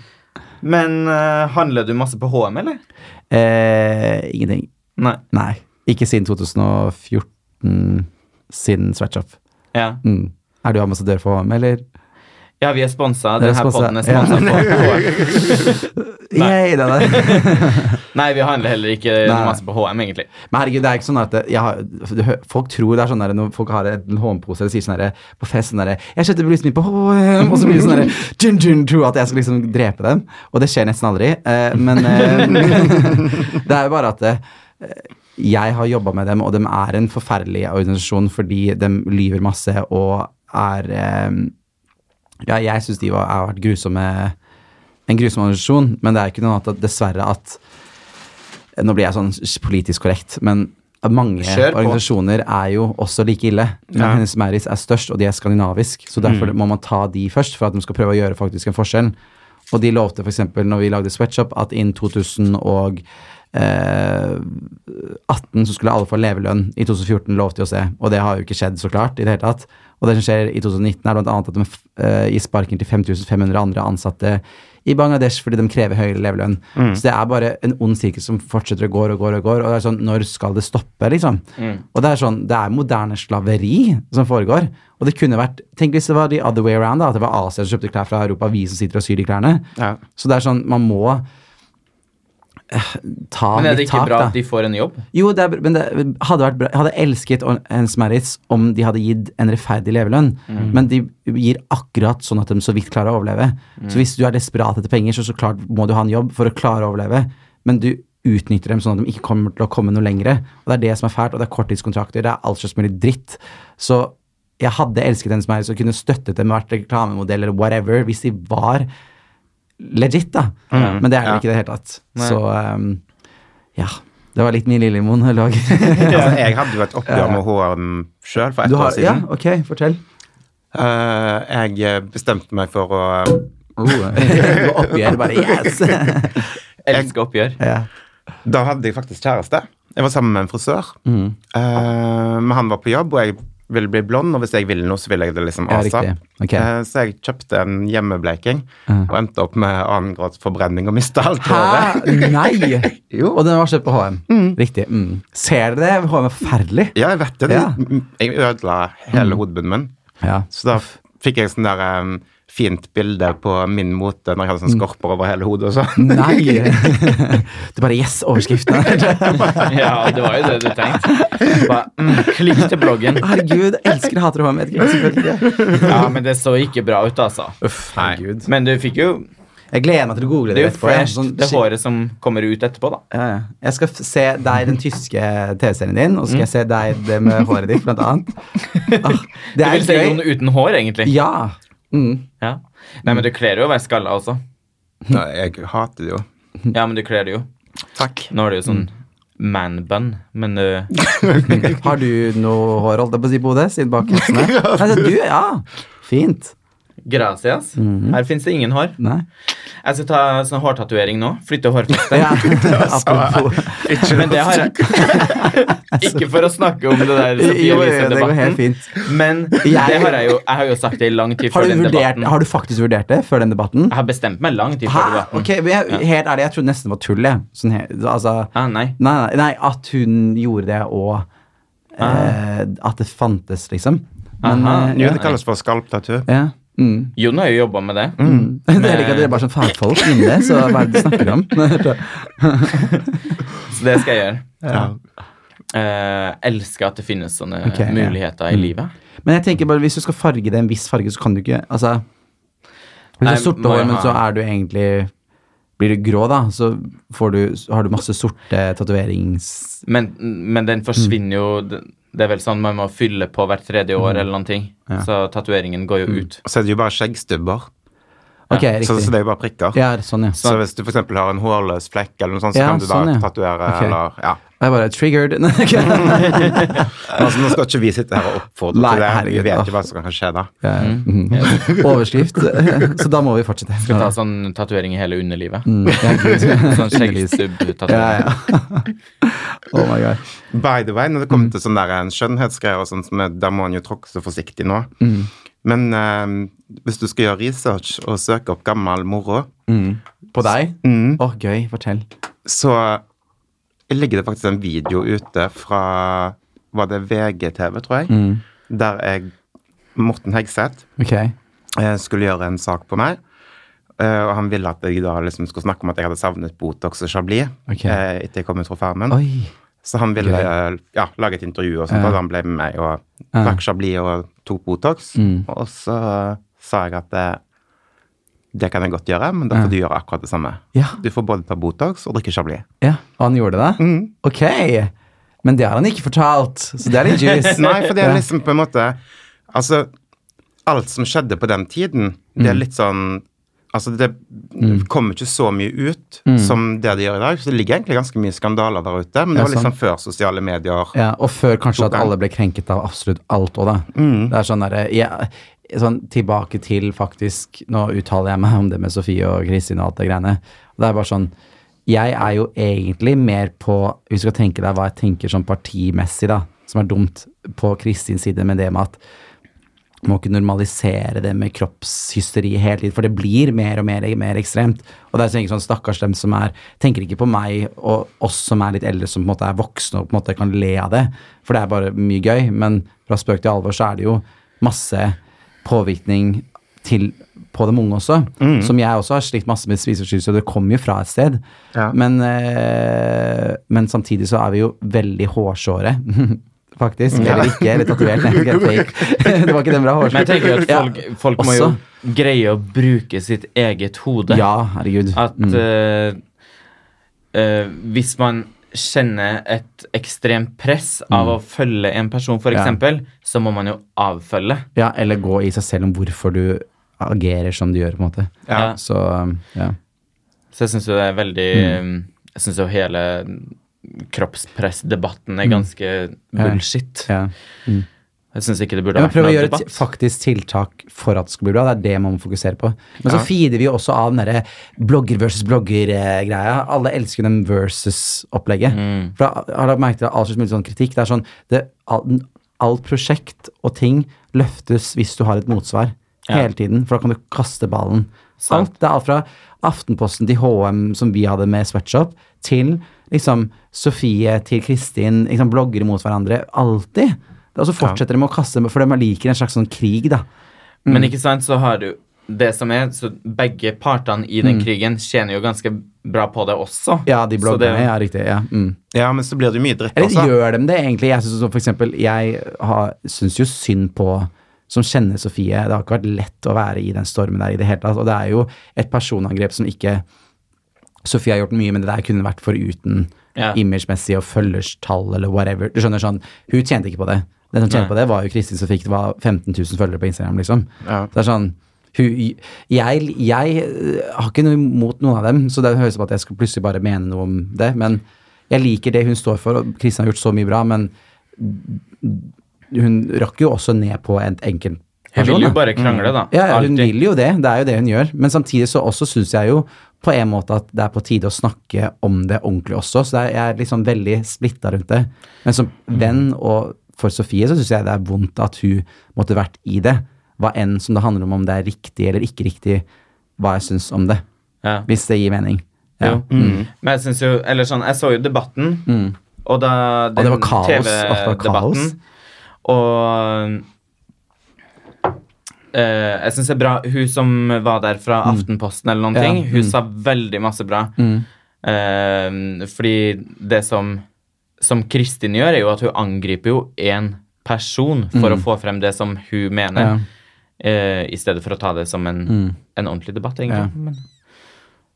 S2: Men eh, handler du masse på HM, eller?
S1: Eh, ingenting.
S2: Nei.
S1: Nei. Ikke siden 2014, siden Sweatshop.
S2: Ja,
S1: Mm. Er du ambassadør for HM, eller?
S2: ja vi er sponsa.
S1: Dere er
S2: Denne
S1: sponset,
S2: podden er sponsa på HM. Nei.
S1: Yay, det er det.
S2: Nei, vi handler heller ikke
S1: Nei.
S2: masse på HM, egentlig.
S1: Men herregud, det er ikke sånn at jeg har, du hø- Folk tror det er sånn der når folk har en håndpose eller sier sånn der på fest sånn der, 'Jeg kjøpte blusen min på H&M', og så blir det sånn der, dun, dun, dun, at jeg skal liksom drepe dem. Og det skjer nesten aldri. eh, men eh, det er jo bare at eh, jeg har jobba med dem, og de er en forferdelig organisasjon fordi de lyver masse og er eh, Ja, jeg syns de var, har vært grusomme en grusom organisasjon, men det er ikke noe annet at dessverre at Nå blir jeg sånn politisk korrekt, men mange
S2: Kjør på.
S1: organisasjoner er jo også like ille. Men
S3: Ja.
S1: Hennes Mauritz er størst, og de er skandinavisk, så derfor må man ta de først for at de skal prøve å gjøre faktisk en forskjell. Og de lovte f.eks. når vi lagde Sweatshop, at innen eh, 2018 så skulle alle få levelønn. I 2014 lovte de å se, og det har jo ikke skjedd, så klart. i det hele tatt. Og det som skjer i 2019, er bl.a. at de eh, gir sparken til 5500 andre ansatte i Bangladesh fordi de krever høyere levelønn.
S2: Mm.
S1: Så det er bare en ond sirkel som fortsetter og går og går og går. Og det er sånn, når skal det stoppe, liksom?
S2: Mm.
S1: Og det er sånn, det er moderne slaveri som foregår. Og det kunne vært Tenk hvis det var the other way around, da, at det var Asia som kjøpte klær fra Europa, vi som sitter og syr de klærne.
S3: Ja.
S1: Så det er sånn, man må eh, ta
S2: Men er det
S1: litt
S2: ikke
S1: tak,
S2: bra
S1: da.
S2: at de får en jobb?
S1: Jo, det er, br- men det hadde vært bra. Jeg hadde elsket Hennes Maritz om de hadde gitt en rettferdig levelønn, men de gir akkurat sånn at de så vidt klarer å overleve. Så hvis du er desperat etter penger, så så klart må du ha en jobb for å klare å overleve, men du utnytter dem sånn at de ikke kommer til å komme noe lengre. Og det er det som er fælt, og det er korttidskontrakter, det er all slags mulig dritt. Så jeg hadde elsket Hennes Maritz og kunne støttet dem, vært reklamemodell eller whatever, hvis de var legit, da. Men det er det
S3: Ja.
S1: ikke i det hele tatt.
S2: Nei.
S1: Så ehm, ja. Det var litt min lille monolog.
S3: Altså, jeg hadde jo et oppgjør med HM sjøl for
S1: Du
S3: ett
S1: har,
S3: år
S1: ja,
S3: siden.
S1: ok, fortell.
S3: Eh, jeg bestemte meg for å eh,
S1: Oh, du oppgjør bare yes!
S2: Elsker oppgjør.
S1: ja.
S3: Da hadde jeg faktisk kjæreste. Jeg var sammen med en frisør. Eh, men han var på jobb, og jeg ville bli blond, og hvis jeg ville noe, så ville jeg det liksom
S1: Ja,
S3: asap.
S1: riktig. Ok.
S3: Eh, så jeg kjøpte en hjemmebleking og endte opp med annengrads forbrenning og mista alt håret.
S1: Hæ? Nei!
S3: Jo.
S1: Og den var kjøpt på HM. Riktig. Mm. Ser dere det? HM er forferdelig.
S3: Ja, jeg vet det.
S1: Ja.
S3: Jeg ødela hele hodebunnen min.
S1: Ja.
S3: Så da f- fikk jeg sånn der em, fint bilde på min mote når jeg hadde sånn skorper over hele hodet og sånn.
S1: Nei! Det er bare yes, overskriften.
S2: Ja, det var jo det du tenkte. Bare, mm, klikk til bloggen.
S1: Herregud, elsker hater HM. Jeg vet ikke, selvfølgelig.
S2: Ja, men det så ikke bra ut, altså.
S1: Uff, herregud.
S2: Men du fikk jo
S1: Jeg gleder meg til å google
S2: Det
S1: det
S2: er jo
S1: etterpå. Jeg er
S2: fresh,
S1: sånn-
S2: det håret som kommer ut etterpå, da.
S1: Ja, ja. Jeg skal f- se deg i den tyske TV-serien din, og så skal jeg se deg det med håret ditt, blant annet. Ah, det
S2: Du
S1: er
S2: vil si noen
S1: gøy.
S2: uten hår, egentlig.
S1: Ja. Mm.
S2: Ja. Nei, men du kler jo å være skalla også.
S3: Nei, jeg hater det jo.
S2: Ja, men du kler det jo.
S3: Takk.
S2: Nå er det jo
S1: Mm.
S2: sånn man bun, men uh,
S1: Har du noe hår, holdt jeg på å si, Bode, siden bak helsene? Nei, så du, ja. Fint.
S2: gracias.
S1: Mhm.
S2: Her fins det ingen hår.
S1: Nei.
S2: Jeg skal ta sånn hårtatovering nå. Flytte hårfestet.
S1: Ja, apropos.
S3: Ikke
S2: Men det har jeg Ikke for å snakke om det der
S1: Jo, jo,
S2: Sofie
S1: jo, det går
S2: Elise-debatten,
S1: helt fint.
S2: men det har jeg jo Jeg har jo sagt det i lang tid
S1: Har
S2: før
S1: du,
S2: den
S1: vurdert,
S2: debatten.
S1: har du faktisk vurdert det før den debatten?
S2: Jeg har bestemt meg lang tid før
S1: Hæ?
S2: debatten.
S1: Ok, men jeg, helt ærlig, jeg trodde nesten det var tull, jeg. Sånn, he- altså...
S2: Ah, nei.
S1: Nei, nei, nei, at hun gjorde det, og eh, at det fantes, liksom. Men,
S2: Ah. Aha.
S1: eh,
S3: Jo, det kalles for skalptatur.
S1: ja. Mm.
S2: Jon har jo jobba med det.
S1: Det er ikke at dere er bare sånn fagfolk inne, så hva er det du snakker om?
S2: Så det skal jeg gjøre.
S3: Ja.
S2: Eh, elsker at det finnes sånne
S1: Ok, ja. Mm.
S2: muligheter i livet.
S1: Men jeg tenker bare, hvis du skal farge det en viss farge, så kan du ikke Altså Hvis du
S2: Nei,
S1: har sorte
S2: må
S1: hår,
S2: jeg
S1: men
S2: ha-
S1: så er du egentlig Blir du grå, da, så får du, så har du masse sorte tatoverings...
S2: Men, men den forsvinner jo Det det er vel sånn man må fylle
S1: Mm.
S2: på hvert tredje år eller noen ting. Så tatoveringen går jo ut.
S3: Og så er det jo bare skjeggstubber.
S1: Ok,
S3: Så,
S1: riktig.
S3: så det er jo bare prikker.
S1: Ja, sånn, ja.
S3: Så hvis du f.eks. har en hårløs flekk eller noe sånt, så
S1: Ja,
S3: kan du da
S1: sånn, ja.
S3: tatuere
S1: Ok.
S3: eller ja.
S1: Og jeg bare triggered. Nei, ok.
S3: Men Altså, nå skal ikke vi sitte her og oppfordre
S1: Nei,
S3: til det.
S1: herregud,
S3: Vi vet
S1: da.
S3: ikke hva som kan skje da.
S1: Ja, mhm. Overskrift. Så da må vi fortsette.
S2: Skal ta sånn tatovering i hele underlivet.
S1: Mm, ja, gud.
S2: Sånn skjeggstubb-tatovering.
S1: Ja, ja. Oh my god.
S3: By the way, når det
S1: Mm.
S3: kommer til sånn der en skjønnhetsgreier og sånn, som er- der må en jo tråkke så forsiktig nå.
S1: Mm.
S3: Men eh, hvis du skal gjøre research og søke opp gammel moro,
S1: På deg? Å,
S3: mm,
S1: gøy. Fortell.
S3: så ligger det faktisk en video ute fra Var det VGTV, tror jeg?
S1: Mm.
S3: Der jeg, Morten Hegseth,
S1: Ok.
S3: eh, skulle gjøre en sak på meg. eh, og han ville at jeg da liksom skulle snakke om at jeg hadde savnet Botox og Chablis
S1: Ok.
S3: eh, etter jeg kom ut fra Farmen.
S1: Oi.
S3: Så han ville eh, ja, lage et intervju, og sånt,
S1: Ja.
S3: og han ble med meg og
S1: Ja.
S3: trakk Chablis og tok Botox.
S1: Mm.
S3: Og så sa jeg at eh, det kan jeg godt gjøre, men da
S1: Ja.
S3: får du gjøre akkurat det samme.
S1: Ja.
S3: Du får både ta Botox og drikke Chablis.
S1: ja. Og han gjorde det?
S3: Mm.
S1: Ok. Men det har han ikke fortalt, så det er litt juice.
S3: Nei, for det
S1: Ja.
S3: er liksom på en måte Altså, alt som skjedde på den tiden, det
S1: Mm.
S3: er litt sånn Altså, det kommer ikke så mye ut
S1: Mm.
S3: som det det gjør i dag. Så det ligger egentlig ganske mye skandaler der ute, men det
S1: Ja,
S3: var
S1: sant.
S3: liksom før sosiale medier.
S1: Ja, og før kanskje at
S3: Tok han. Mm.
S1: alle ble krenket av absolutt alt òg, da. Det er sånn derre ja, sånn Tilbake til faktisk Nå uttaler jeg meg om det med Sofie og Kristin og alt det greiene. Og det er bare sånn Jeg er jo egentlig mer på Hvis du skal tenke deg hva jeg tenker sånn partimessig, da, som er dumt på Kristins side med det med at må ikke normalisere det med kroppshysteri hele tiden, for det blir mer og mer, mer ekstremt. Og det er så enkelt sånn stakkars dem som er Tenker ikke på meg og oss som er litt eldre, som på en måte er voksne og på en måte kan le av det, for det er bare mye gøy. Men fra spøk til alvor så er det jo masse påvirkning til, på dem unge også, som jeg også har slitt masse med spiseforstyrrelser, og det kommer jo fra et sted.
S3: Ja.
S1: Men, eh, men samtidig så er vi jo veldig hårsåre. Faktisk. Eller ikke. Eller tatovert. Nei, ok, fake. det var ikke den bra
S2: Men
S1: hårsåret.
S2: jeg tenker jo at folk, folk må jo
S1: Også.
S2: greie å bruke sitt eget hode.
S1: Ja, Mm. herregud.
S2: At eh, eh, hvis man kjenner et ekstremt press av å følge en person, for
S1: Mm. Ja.
S2: eksempel, så må man jo avfølge.
S1: Ja, eller gå i seg selv om hvorfor du agerer som du gjør, på en måte.
S2: Ja.
S1: Så um, ja.
S2: Så jeg syns jo det er veldig
S1: Mm.
S2: eh, Jeg syns jo hele kroppspressdebatten er ganske bullshit.
S1: Mm. ja.
S2: Jeg syns ikke det burde
S1: Ja, men
S2: vært
S1: prøv å
S2: noen
S1: gjøre et
S2: debatt.
S1: faktisk tiltak for at det skal bli bra. Det er det man må fokusere på. Men så
S3: Ja.
S1: feeder vi jo også av den derre blogger versus blogger-greia. Alle elsker den versus-opplegget.
S2: Mm.
S1: For da har dere merket at all slags mulig sånn kritikk. Det er sånn det, all, Alt prosjekt og ting løftes hvis du har et motsvar.
S2: Ja.
S1: Hele tiden. For da kan du kaste ballen.
S2: Sant.
S1: Alt, det er alt fra Aftenposten til HM, som vi hadde med Sweatshop, til liksom Sofie til Kristin. Liksom bloggere mot hverandre. Alltid. Og så fortsetter de med å kaste dem, for de liker en slags sånn krig, da. Mm.
S2: Men ikke sant, så har du det som er, så begge partene i den krigen tjener jo ganske bra på det også.
S1: Mm. Ja, de
S2: Så
S1: bloggerne.
S2: det-
S1: Ja, riktig. Ja. Mm.
S3: Ja, men så blir det jo mye dritt altså.
S1: Eller
S3: også.
S1: gjør de det egentlig? Jeg synes, som for eksempel, jeg har- syns jo synd på som kjenner Sofie. Det har ikke vært lett å være i den stormen der i det hele tatt. Og det er jo et personangrep som ikke Sofie har gjort mye, men det der kunne vært foruten
S2: Ja.
S1: imagemessig og følgerstall eller whatever. Du skjønner sånn, Hun tjente ikke på det. Den som tjente på
S2: Nei.
S1: det, var jo Kristin som fikk det var 15 000 følgere på Instagram, liksom.
S3: Ja.
S1: Så det er sånn hun, jeg, jeg øh, har ikke noe imot noen av dem, så det høres ut som at jeg skal plutselig bare mene noe om det. Men jeg liker det hun står for, og Kristin har gjort så mye bra, men hun rakk jo også ned på en enkelt
S2: Hun
S1: person.
S2: vil jo
S1: da.
S2: bare krangle, da.
S1: sånn, Mm. Ja, ja, hun
S2: Alltid.
S1: vil jo det. Det er jo det hun gjør. Men samtidig så også syns jeg jo på en måte at det er på tide å snakke om det ordentlig også. Så det er, jeg er liksom veldig splitta rundt det. Men som venn og for Sofie så syns jeg det er vondt at hun måtte vært i det. Hva enn som det handler om om det er riktig eller ikke riktig, hva jeg syns om det.
S2: Ja.
S1: Hvis det gir mening. Ja.
S2: Jo. Mm. Men jeg syns jo Eller sånn, jeg så jo debatten, og da
S1: Mm. det var kaos. At det var kaos.
S2: TV-debatten, Og eh, jeg syns det er bra Hun som var der fra Aftenposten eller noen
S1: Mm. Ja, Mm.
S2: ting, hun sa veldig masse bra. Eh, fordi det som Som Kristin gjør, er jo at hun angriper jo én person for å få frem det som hun mener,
S1: Mm. Ja. Mm.
S2: eh, i stedet for å ta det som en, en ordentlig debatt, egentlig.
S1: Ja.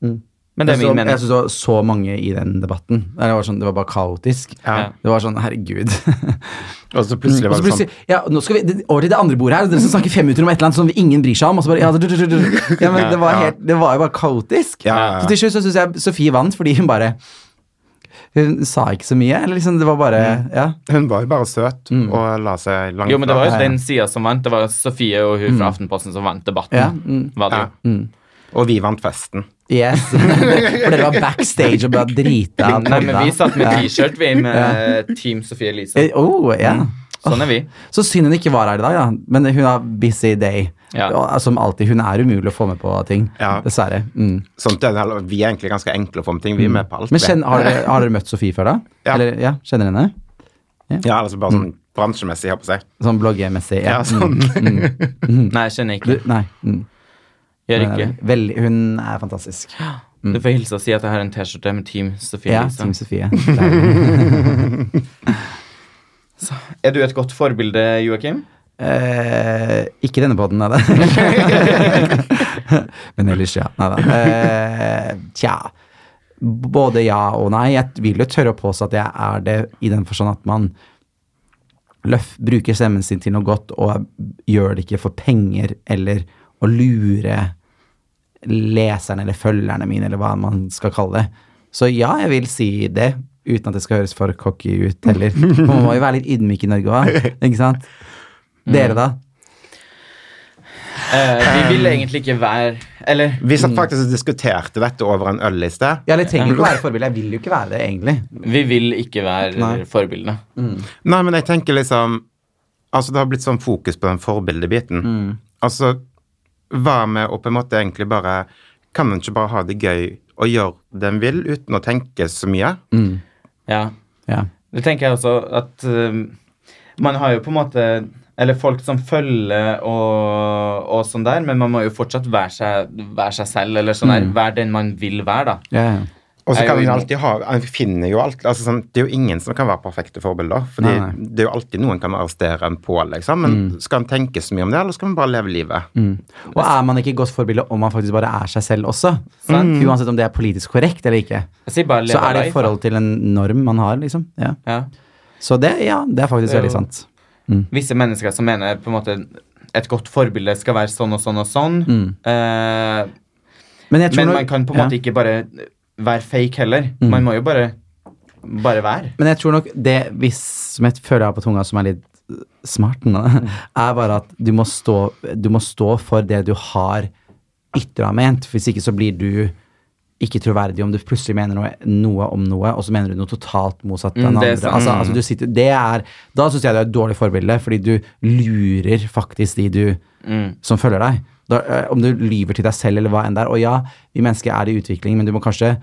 S2: Men, Men det er
S1: jeg så,
S2: min mening.
S1: jeg synes det var så mange i den debatten. Det var, sånn, det var bare kaotisk.
S3: Ja.
S2: Ja.
S1: Det var sånn, herregud.
S3: Og så plutselig
S1: Mm. Og så
S3: var det sånn
S1: plutselig, ja, nå skal vi det- over til det andre bordet her. Dere som snakker fem minutter om et eller annet som ingen bryr seg om. Og så bare, ja, du, du, du, du. ja men Det var, helt, det var jo bare kaotisk.
S3: Ja, ja, ja.
S1: Så til slutt så syns jeg Sofie vant fordi hun bare Hun sa ikke så mye. Eller liksom, det var bare
S3: Mm.
S1: Ja.
S3: sånn, Hun var jo bare søt
S1: Mm.
S3: og la seg langt
S2: Jo, men det var jo
S3: fra.
S2: den sida som vant. Det var Sofie og hun fra Aftenposten som vant
S1: Mm.
S2: debatten.
S1: Ja, mm.
S2: Var det jo.
S3: ja. Og vi vant festen.
S1: Yes. For dere var backstage og ble drita.
S2: Nei, men vi satt med
S1: Ja.
S2: T-skjørt, vi, med eh, Team Sofie Elise.
S1: Eh, Oh, ja.
S2: Sånn er vi.
S1: Så synd hun ikke var her i dag, da. Men hun har busy day.
S2: Ja.
S1: Og altså, Som alltid. Hun er umulig å få med på ting.
S3: Ja.
S1: Dessverre. Mm.
S3: Sånt, er Sånn, det, eller, vi er egentlig ganske enkle å få med ting. Vi er med på alt.
S1: Men
S3: vi.
S1: kjenn, har, dere, har dere møtt Sofie før, da?
S3: Ja.
S1: Eller, ja, Kjenner henne?
S3: Ja, altså bare
S1: Mm.
S3: sånn bransjemessig, jeg holdt på å si.
S1: Sånn bloggemessig?
S3: Ja, sånn.
S1: Mm.
S2: Nei, jeg kjenner
S1: Du,
S2: ikke.
S1: nei. Mm.
S2: Gjør
S1: Hun er
S2: ikke.
S1: Veldig, hun er fantastisk.
S2: Du får hilse og si at jeg har en T-skjorte med Team Sofie
S1: Mm. Ja,
S2: Elise.
S1: Team Sofie. Deilig.
S2: Er du et godt forbilde, Joakim?
S1: Eh, ikke denne podden, nei da. Men ellers, ja. Nei da. Eh, tja. Både ja og nei. Jeg vil jo tørre å påstå at jeg er det i den forstand at man løf, bruker stemmen sin til noe godt og gjør det ikke for penger eller å lure leserne eller følgerne mine, eller hva man skal kalle det. Så ja, jeg vil si det, uten at det skal høres for cocky ut heller. For Man må jo være litt ydmyk i Norge òg, ikke sant?
S2: Mm.
S1: Dere, da?
S2: Eh, vi vil
S1: Um.
S2: egentlig ikke være Eller
S3: Vi satt faktisk og diskuterte dette over en øl i sted.
S1: Ja, eller jeg trenger ikke å være forbilde. Jeg vil jo ikke være det, egentlig.
S2: vi vil ikke være
S1: Nei.
S2: forbildene.
S3: Nei, men jeg tenker liksom Altså, det har blitt sånn fokus på den forbildebiten.
S1: Mm.
S3: Altså, hva med å på en måte egentlig bare Kan en ikke bare ha det gøy og gjøre det en vil, uten å tenke så mye?
S2: Ja.
S1: Ja.
S2: Det tenker jeg også at um, man har jo på en måte Eller folk som følger og, og sånn der, men man må jo fortsatt være seg, være seg selv, eller sånn
S1: Mm.
S2: der. Være den man vil være, da.
S1: Ja, ja.
S3: Og så
S2: Jeg er
S3: kan
S2: jo
S3: en
S2: enig.
S3: alltid ha En finner jo alt altså sånn, Det er jo ingen som kan være perfekte forbilder. Fordi
S1: Nei, Mm. nei.
S3: det er jo alltid noen kan arrestere en på, liksom. Men skal en tenke så mye om det, eller skal en bare leve livet?
S1: Mm. Og er man ikke et godt forbilde om man faktisk bare er seg selv også? Mm.
S2: Sant.
S1: Uansett om det er politisk korrekt eller ikke.
S2: Jeg sier bare
S1: Så
S2: leve
S1: er det i
S2: life, da.
S1: forhold til en norm man har, liksom. Ja.
S2: Ja.
S1: Så det, ja, det er faktisk
S2: Det er
S1: veldig
S2: jo-
S1: sant.
S2: visse mennesker som mener på en måte et godt forbilde skal være sånn og sånn og sånn. Eh,
S1: Men, Mm. jeg tror
S2: men
S1: nok-
S2: man kan på en
S1: ja. Mm.
S2: måte ikke bare være fake heller. Man må jo bare, bare være.
S1: Men jeg tror nok det hvis som jeg føler jeg har på tunga som er litt øh, smart, nå,
S2: Mm.
S1: er bare at du må stå, du må stå for det du har ytra ment. Hvis ikke så blir du ikke troverdig om du plutselig mener noe, noe om noe, og så mener du noe totalt motsatt av den
S2: Mm, det er
S1: andre.
S2: sant.
S1: Altså, altså, du sitter, det er, da syns jeg du er et dårlig forbilde, fordi du lurer faktisk de du som følger deg. Da, øh, om du lyver til deg selv eller hva enn det er. Og ja, vi mennesker er i utvikling, men du må kanskje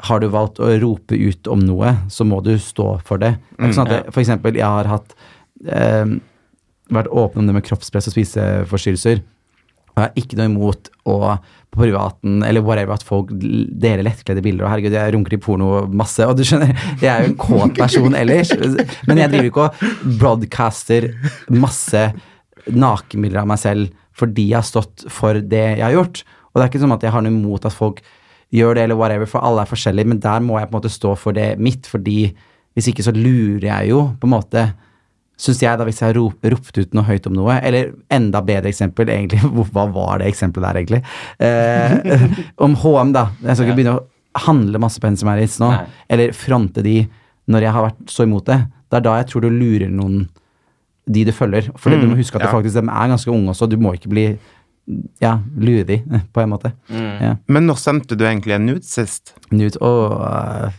S1: har du valgt å rope ut om noe, så må du stå for det. det er ikke sånn at det for eksempel, jeg har hatt, eh, vært åpen om det med kroppspress og spiseforstyrrelser. Og jeg har ikke noe imot å på privaten eller whatever at folk l- deler lettkledde bilder. Og herregud, jeg runker i porno masse, og du skjønner, jeg er jo en kåt person ellers. Men jeg driver ikke og broadcaster masse nakenbilder av meg selv fordi jeg har stått for det jeg har gjort. Og det er ikke sånn at jeg har noe imot at folk gjør det, eller whatever, for alle er forskjellige, men der må jeg på en måte stå for det mitt, fordi hvis ikke så lurer jeg jo, på en måte, syns jeg, da, hvis jeg har rop, ropt ut noe høyt om noe. Eller enda bedre eksempel, egentlig, hvor- hva var det eksempelet der, egentlig? Eh, om HM, da. Jeg skal ikke begynne å handle masse på Hennes Maurits nå,
S2: Nei.
S1: eller fronte de når jeg har vært så imot det. Det er da jeg tror du lurer noen, de du følger. For du må huske at det
S3: ja.
S1: faktisk, de er ganske unge også, du må ikke bli ja, lure de, på en måte. Ja.
S3: Men når sendte du egentlig en nude sist?
S1: Newt, åh, øh,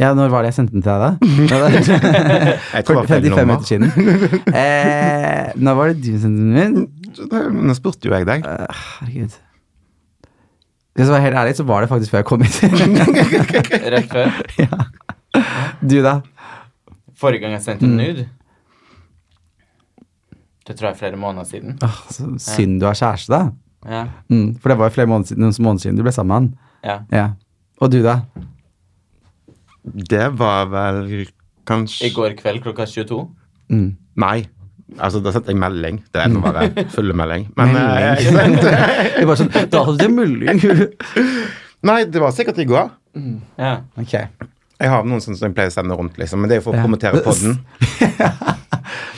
S1: ja, når var det jeg sendte den til deg, da? Ja, det-
S3: Jeg tror det var feil
S1: 55
S3: nummer.
S1: minutter siden. Eh, når var det du sendte den min?
S3: Nå spurte jo jeg deg.
S1: Eh, herregud. Hvis jeg var helt ærlig, så var det faktisk før jeg kom hit.
S2: Rett før.
S1: du, da?
S2: Forrige gang jeg sendte
S1: Mm.
S2: en nude Det tror jeg er flere måneder siden.
S1: Åh, Ah, så synd du har kjæreste, da.
S2: Ja.
S1: Mm, for det var jo flere måneder siden, noen måneder siden du ble sammen med han.
S2: ja.
S1: Ja. Og du, da?
S3: Det var vel kanskje
S2: I går kveld klokka 22.
S1: Mm.
S3: Nei. Altså, da sendte jeg melding. Det er nå bare fulle melding. Men
S1: Melding.
S3: eh, jeg sendte
S1: Det var sånn Da hadde du melding!
S3: Nei, det var sikkert i går.
S2: Ja.
S1: Ok.
S3: Jeg har noen sånne som jeg pleier å sende rundt, liksom. Men det er jo for å promotere podden.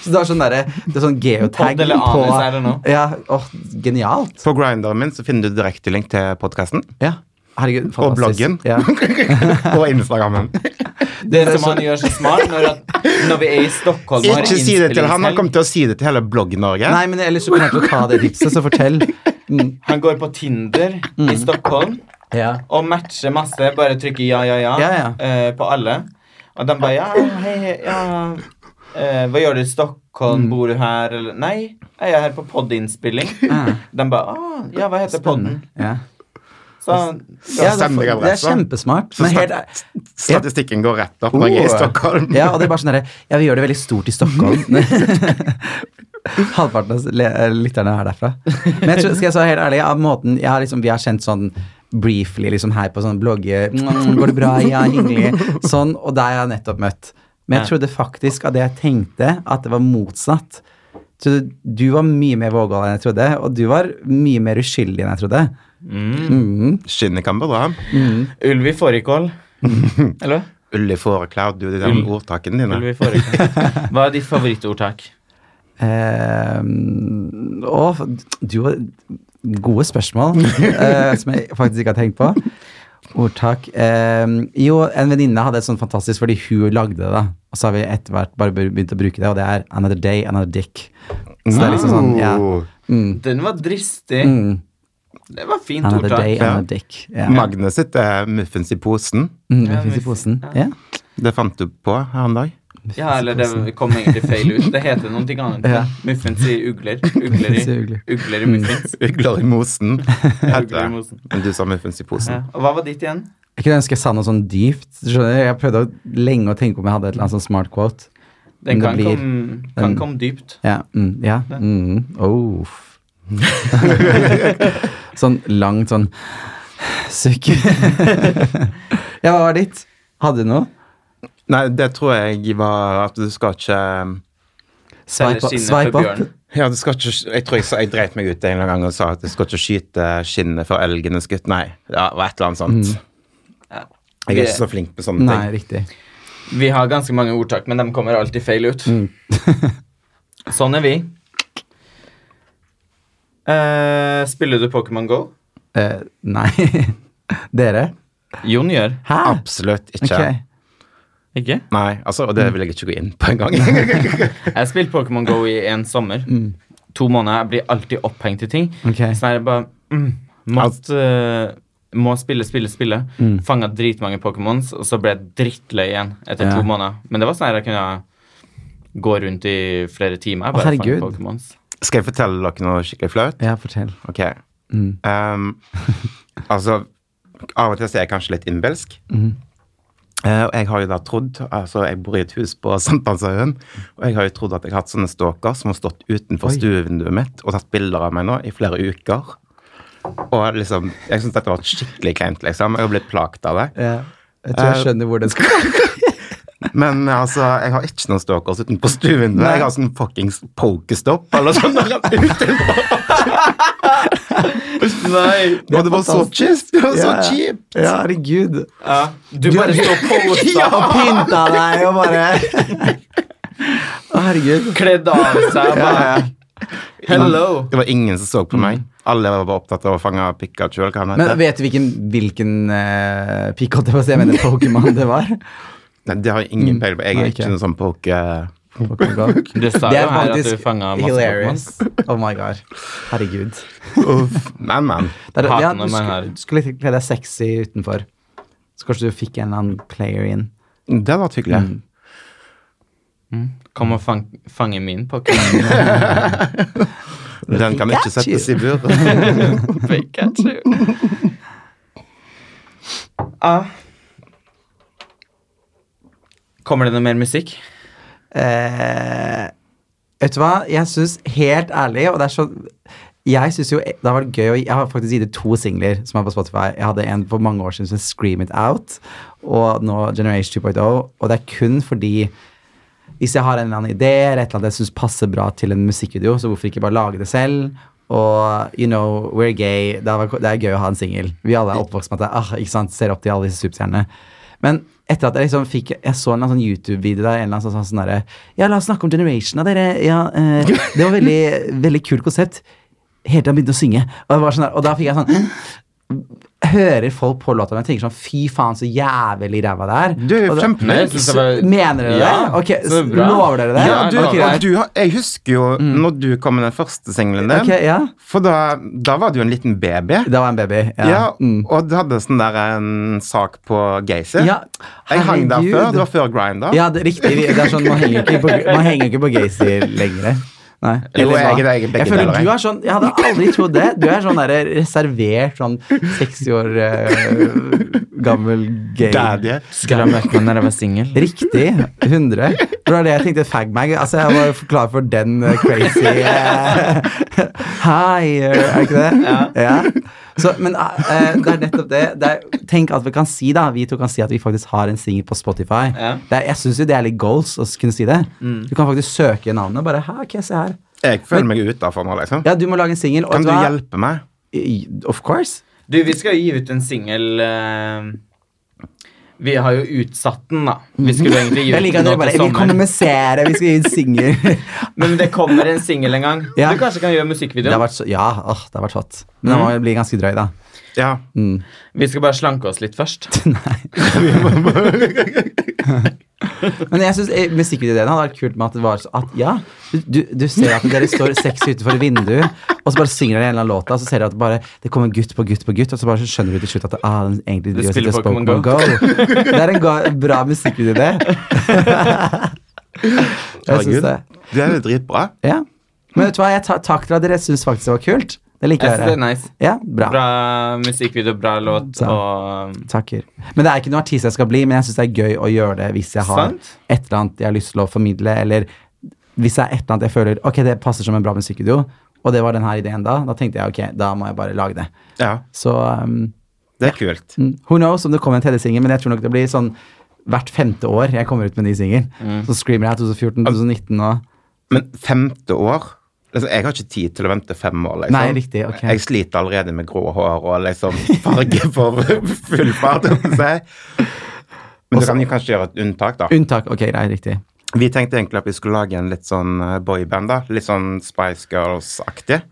S1: Så det er sånn derre Det er sånn geotag
S2: Podd eller
S1: på
S2: anus, er det nå?
S1: Ja, åh, genialt.
S3: På grinderen min så finner du direktelink til podkasten
S1: Ja. Herregud, fantastisk.
S3: og bloggen.
S1: Ja.
S3: og Instagrammen.
S2: Det som han gjør så smart når, at, når vi er i Stockholm og har
S3: Ikke si det til han. Han
S2: innspillingshelg,
S3: kommer til å si det til hele Blogg-Norge.
S1: Nei, men ellers så kommer jeg til å ta det tipset, så fortell. Mm.
S2: Han går på Tinder
S3: Mm.
S2: i Stockholm
S1: Ja.
S2: og matcher masse. Bare trykker ja, ja, ja,
S1: Ja, ja.
S2: eh, på alle. Og de bare ja, hei, hei, ja eh, Hva gjør du i Stockholm?
S3: Mm.
S2: Bor du her? Eller Nei, jeg er her på podinnspilling.
S1: Ah.
S2: De bare ah, Ja, hva heter podden?
S1: Ja.
S2: Så
S1: Ja, det,
S3: stemmer
S1: er,
S3: jeg
S1: det er
S3: altså.
S1: kjempesmart.
S3: Så
S1: Men helt,
S3: stat statistikken går rett opp når jeg er i
S1: Oh.
S3: Stockholm.
S1: ja, og det er bare sånn derre Ja, vi gjør det veldig stort i Stockholm. Halvparten av le- eh, lytterne er derfra. Men jeg tror, skal jeg så være helt ærlig, av måten jeg har liksom, Vi har kjent sånn briefly liksom her på sånn blogge «Mm, Går det bra? Ja, hyggelig. Sånn. Og der har jeg nettopp møtt. Men jeg
S2: Ja.
S1: trodde faktisk av det jeg tenkte, at det var motsatt. Så du, du var mye mer vågal enn jeg trodde, og du var mye mer uskyldig enn jeg trodde. Mhm.
S3: Skinnet kan bedra.
S2: Ulv i fårikål. Eller?
S3: Ull i fåreklær, du, de der
S2: Ull.
S3: ordtakene dine.
S2: Ulv i fårikål. Hva er ditt favorittordtak?
S1: Eh, og du har gode spørsmål eh, som jeg faktisk ikke har tenkt på. Ordtak. Eh, jo, en venninne hadde et sånt fantastisk fordi hun lagde det. da. Og så har vi etter hvert bare begynt å bruke det, og det er 'Another Day, Another Dick'. Så det er liksom sånn, ja.
S3: Oh.
S1: Mm,
S2: Den var dristig.
S1: mm,
S2: Det var fint
S1: another
S2: ordtak.
S1: day,
S3: Ja.
S1: another dick. Ja.
S3: Magne sitt er muffins i posen.
S1: Mm,
S2: Ja,
S1: muffins i posen.
S2: muffins, ja.
S1: Ja.
S3: Det fant du på her en dag.
S2: Ja, eller det kom egentlig feil ut. Det heter noe annet.
S1: Ja.
S2: Muffins i ugler. Ugler
S1: Muffins i
S2: i,
S1: ugler.
S2: ugler i muffins.
S3: Ugler i mosen. heter
S2: Ugler i
S3: det.
S2: mosen.
S3: Men du sa muffins i
S2: Ja.
S3: posen.
S2: Og hva var ditt igjen?
S1: Jeg kunne ønske jeg sa noe sånn dypt. skjønner du? Jeg prøvde å- lenge å tenke om jeg hadde et eller annet sånn smart quote. Men
S2: Den
S1: det
S2: kan,
S1: blir-
S2: komme, kan
S1: den-
S2: komme dypt.
S1: Ja. Mm, ja. Mm, oh. sånn langt sånn sukk. ja, hva var ditt? Hadde du noe?
S3: Nei, det tror jeg var at du skal ikke
S2: Selger
S1: Swipe,
S2: skinnet
S1: swipe
S2: for
S1: opp.
S2: bjørn.
S3: ja, du skal ikke, Jeg tror jeg, sa- jeg dreit meg ut en eller annen gang og sa at du skal ikke skyte skinnet for elgen er skutt. Nei, ja, det var et eller annet sånt.
S2: Ja.
S3: Jeg er
S2: Vi,
S3: ikke så flink på sånne
S1: Nei,
S3: ting.
S1: riktig.
S2: vi har ganske mange ordtak, men de kommer alltid feil ut.
S1: Mm.
S2: sånn er vi. Eh, spiller du Pokémon Go?
S1: Eh, nei. Dere?
S2: Jon gjør.
S1: Hæ?
S3: Absolutt ikke.
S1: Ok.
S2: Ikke?
S3: Nei, altså, og det vil jeg ikke gå inn på engang.
S2: Jeg spilte Pokémon Go i en sommer. To måneder. Jeg blir alltid opphengt i ting.
S1: Mm. Ok.
S2: Så er det bare mm, mått, eh, Må spille, spille, spille.
S1: Mm.
S2: Fanget Fanga dritmange Pokémons, og så ble jeg drittlei igjen etter
S1: Ja.
S2: to måneder. Men det var sånn her jeg kunne gå rundt i flere timer. Bare fange
S1: herregud.
S2: Pokémons.
S3: Skal jeg fortelle dere noe skikkelig flaut?
S1: Ja, fortell.
S3: Ok.
S1: Mm.
S3: Um, altså, av og til så er jeg kanskje litt innbilsk.
S1: Mm.
S3: Eh, og jeg har jo da trodd Altså, jeg bor i et hus på Sankthanshaugen, og jeg har jo trodd at jeg har hatt sånne stalker som har stått utenfor stuevinduet mitt og tatt bilder av meg nå i flere uker. Og liksom Jeg syns dette var skikkelig kleint, liksom. Jeg har blitt plaget av det.
S1: Ja. Jeg tror jeg
S3: Eh,
S1: skjønner hvor den skal
S3: Men altså, jeg har ikke noen stalkers utenfor stuevinduet. Jeg har sånn fuckings pokestopp eller sånn der utenfor.
S2: Nei!
S3: Og det var så kjipt! Det var så
S1: Ja.
S3: kjipt!
S1: Ja, herregud.
S2: Ja, du bare står på og
S1: Og
S2: står
S1: pynta deg og bare Å, herregud.
S2: kledd av seg. Bare, Hello!
S3: Det var ingen som så på meg. Alle var bare opptatt av å fange Pikachu. eller hva han
S1: Mm. Men eh,
S3: heter.
S1: vet du hvilken, hvilken uh, pikk, holdt jeg på å si, jeg mener Pokémon det var?
S3: Nei, det har jeg ingen peiling på.
S1: Mm.
S3: Jeg
S1: Nei,
S3: er
S1: ikke.
S3: ikke noen sånn poke...
S1: Pokémon Go.
S2: Du sa jo her at du fanga masse Pokémon.
S1: hilarious. Oh my god. Herregud.
S3: Uff. Men, men.
S1: Det er,
S2: Hater
S1: ja,
S2: når
S1: du
S2: man
S1: skulle,
S2: er-
S1: du skulle ikke kle deg sexy utenfor. Så kanskje du fikk en eller annen player inn.
S3: Det hadde vært hyggelig.
S1: Mm.
S2: Kom og fang, fange min Pokémon.
S3: Den kan ikke
S1: Pikachu.
S3: settes i bur.
S2: Pikachu. Ah. Kommer det noe mer musikk?
S1: Eh, vet du hva, jeg syns helt ærlig, og det er så jeg synes jo det har vært gøy å, Jeg har faktisk gitt ut to singler som er på Spotify. Jeg hadde en for mange år siden som het Scream It Out, og nå Generation 2.0. Og det er kun fordi hvis jeg har en eller annen idé eller et eller annet jeg syns passer bra til en musikkvideo, så hvorfor ikke bare lage det selv? Og you know, we're gay. Det er, det er gøy å ha en singel. Vi alle er oppvokst med at det, ah, ikke sant, ser opp til alle disse superstjernene. Men etter at jeg liksom fikk Jeg så en eller annen sånn YouTube-video der en eller annen sånn, sånn, sånn derre Ja, la oss snakke om generation av dere. Ja, eh, det var veldig, veldig kult konsept. Helt til han begynte å synge. Og, jeg var sånn der, og da fikk jeg sånn Hører folk på låta mi og tenker sånn Fy faen, så jævlig ræva det er.
S3: Du er
S1: Og da-
S2: Nei, jeg
S3: kjempenøyd.
S2: synes det var-
S1: Mener dere
S2: Ja,
S1: det? Ok,
S2: så
S1: s-
S2: bra.
S1: lover dere det?
S3: Ja,
S2: Ja,
S3: du,
S1: ok,
S3: og
S1: greit. Mm.
S3: du har, jeg husker jo når du kom med den første singelen din.
S1: Ok, ja.
S3: For da, da var du jo en liten baby.
S1: Da var jeg en baby.
S3: Ja,
S1: Ja. mm.
S3: Og du hadde sånn der en sak på Gacy.
S1: Ja,
S3: jeg hang der
S1: herregud.
S3: før. Det var før Grindr.
S1: Ja, det er riktig. Vi- Det er sånn, man henger ikke på, man henger ikke på Gacy lenger. Nei.
S3: Jo,
S1: Eller hva?
S3: jeg- jeg- begge
S1: jeg føler
S3: deler, jeg.
S1: du er sånn Jeg hadde aldri trodd det. Du er sånn der reservert sånn 60 år eh, gammel gay.
S3: Daddy.
S2: Skulle ha møtt meg når jeg var singel.
S1: Riktig. 100. Det var det jeg tenkte. Fagmag. Altså, jeg var klar for den eh, crazy eh, Hi, eh, er det ikke det? Ja. Så, men eh, eh, det er nettopp det. det er, tenk at vi kan si da Vi to kan si at vi faktisk har en singel på Spotify.
S2: Ja. Mm.
S1: Det er, jeg syns jo det er litt goals å kunne si det. Du kan faktisk søke navnet. Bare her, ok, se her.
S3: Jeg føler meg utafor nå, liksom.
S1: Ja, du må lage en singel. og
S3: Kan
S1: vet
S3: du
S1: hva?
S3: hjelpe meg?
S1: I- Of course.
S2: Du, vi skal gi ut en singel eh, Vi har jo utsatt den, da. Vi skulle egentlig gi ut
S1: Jeg liker at
S2: den
S1: dere
S2: nå
S1: bare
S2: til
S1: Vi kommer
S2: sommeren.
S1: med seere, vi skal gi ut singel.
S2: Men det kommer en singel en gang.
S1: Ja.
S2: Du kanskje kan gjøre
S1: Det har
S2: musikkvideo.
S1: vært så, ja, åh, det har vært hot. Men
S2: Mm.
S1: den må jo bli ganske drøy, da.
S3: Ja.
S2: Vi skal bare slanke oss litt først.
S1: Men jeg synes, eh, musikkvideoen hadde vært kult med at det var så at ja, du, du- du ser at dere står sexy utenfor et vindu, og så bare synger dere en eller annen låt, og så ser dere at det bare, det kommer gutt på gutt på gutt, og så bare skjønner du til slutt at det, ah, den egentlig
S2: Du
S1: driver og
S2: spiller
S1: sitter og
S2: Pokémon
S1: Pokémon Go. Det er en ga- bra musikkvideo, det. jeg syns
S3: Herregud.
S1: det.
S3: Det er jo dritbra.
S1: Ja. Men vet du hva, jeg tar takk til at dere syns faktisk det var kult. Det liker
S2: Jeg
S1: jeg.
S2: synes det er
S1: å høre.
S2: nice.
S1: Ja, bra.
S2: Bra musikkvideo, bra låt
S1: Sant.
S2: og um,
S1: Takker. Men det er ikke noen artist jeg skal bli, men jeg syns det er gøy å gjøre det hvis jeg har
S2: Sant.
S1: et eller annet jeg har lyst til å formidle, eller hvis det er et eller annet jeg føler Ok, det passer som en bra musikkvideo, og det var den her ideen da, da tenkte jeg ok, da må jeg bare lage det.
S3: Ja,
S1: Så um,
S3: det er kult.
S1: who knows om det kommer en tredje singel, men jeg tror nok det blir sånn hvert femte år jeg kommer ut med en ny singel. Så screamer jeg 2014, 2019 og
S3: Men femte år liksom, Jeg har ikke tid til å vente fem år. Liksom.
S1: Nei, riktig, ok.
S3: Jeg sliter allerede med grå hår og liksom farge for full fart. holdt jeg på å si. Men du kan jo kanskje gjøre et unntak, da.
S1: Unntak. Ok, greit, riktig.
S3: Vi tenkte egentlig at vi skulle lage en litt sånn eh, boyband, da. Litt sånn Spice Girls-aktig.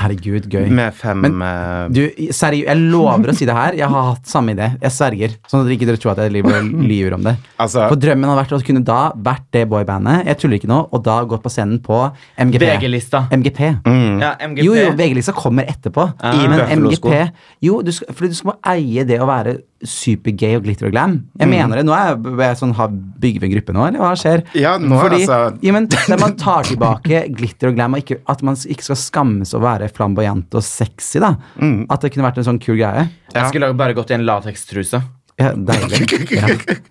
S1: Herregud, gøy.
S3: Med fem
S1: Men
S3: eh,
S1: Du, seriøst, jeg lover å si det her. Jeg har hatt samme idé. Jeg sverger. Sånn at dere ikke dere tror at jeg lyver, lyver om det.
S3: Altså-
S1: For drømmen hadde vært å kunne da vært det boybandet, jeg tuller ikke nå, og da gått på scenen på MGP.
S2: VG-lista.
S1: MGP.
S3: mm.
S2: Ja, MGP.
S1: Jo, jo, VG-lista kommer etterpå.
S3: I
S1: men
S3: Buffalo-sko.
S1: MGP Jo, du skal, fordi du skal bare eie det å være supergay og glitter og glam. Jeg
S3: Mm.
S1: mener det. Nå er jeg, er jeg sånn, har bygger vi en gruppe nå, eller hva skjer?
S3: Ja, nå er
S1: fordi,
S3: altså-
S1: ja, men, der man tar tilbake glitter og glam, og ikke, at man ikke skal skammes å være flamboyant og sexy, da.
S3: Mm.
S1: At det kunne vært en sånn kul greie.
S2: Jeg skulle bare gått i en latekstruse.
S1: Ja, deilig. Ja.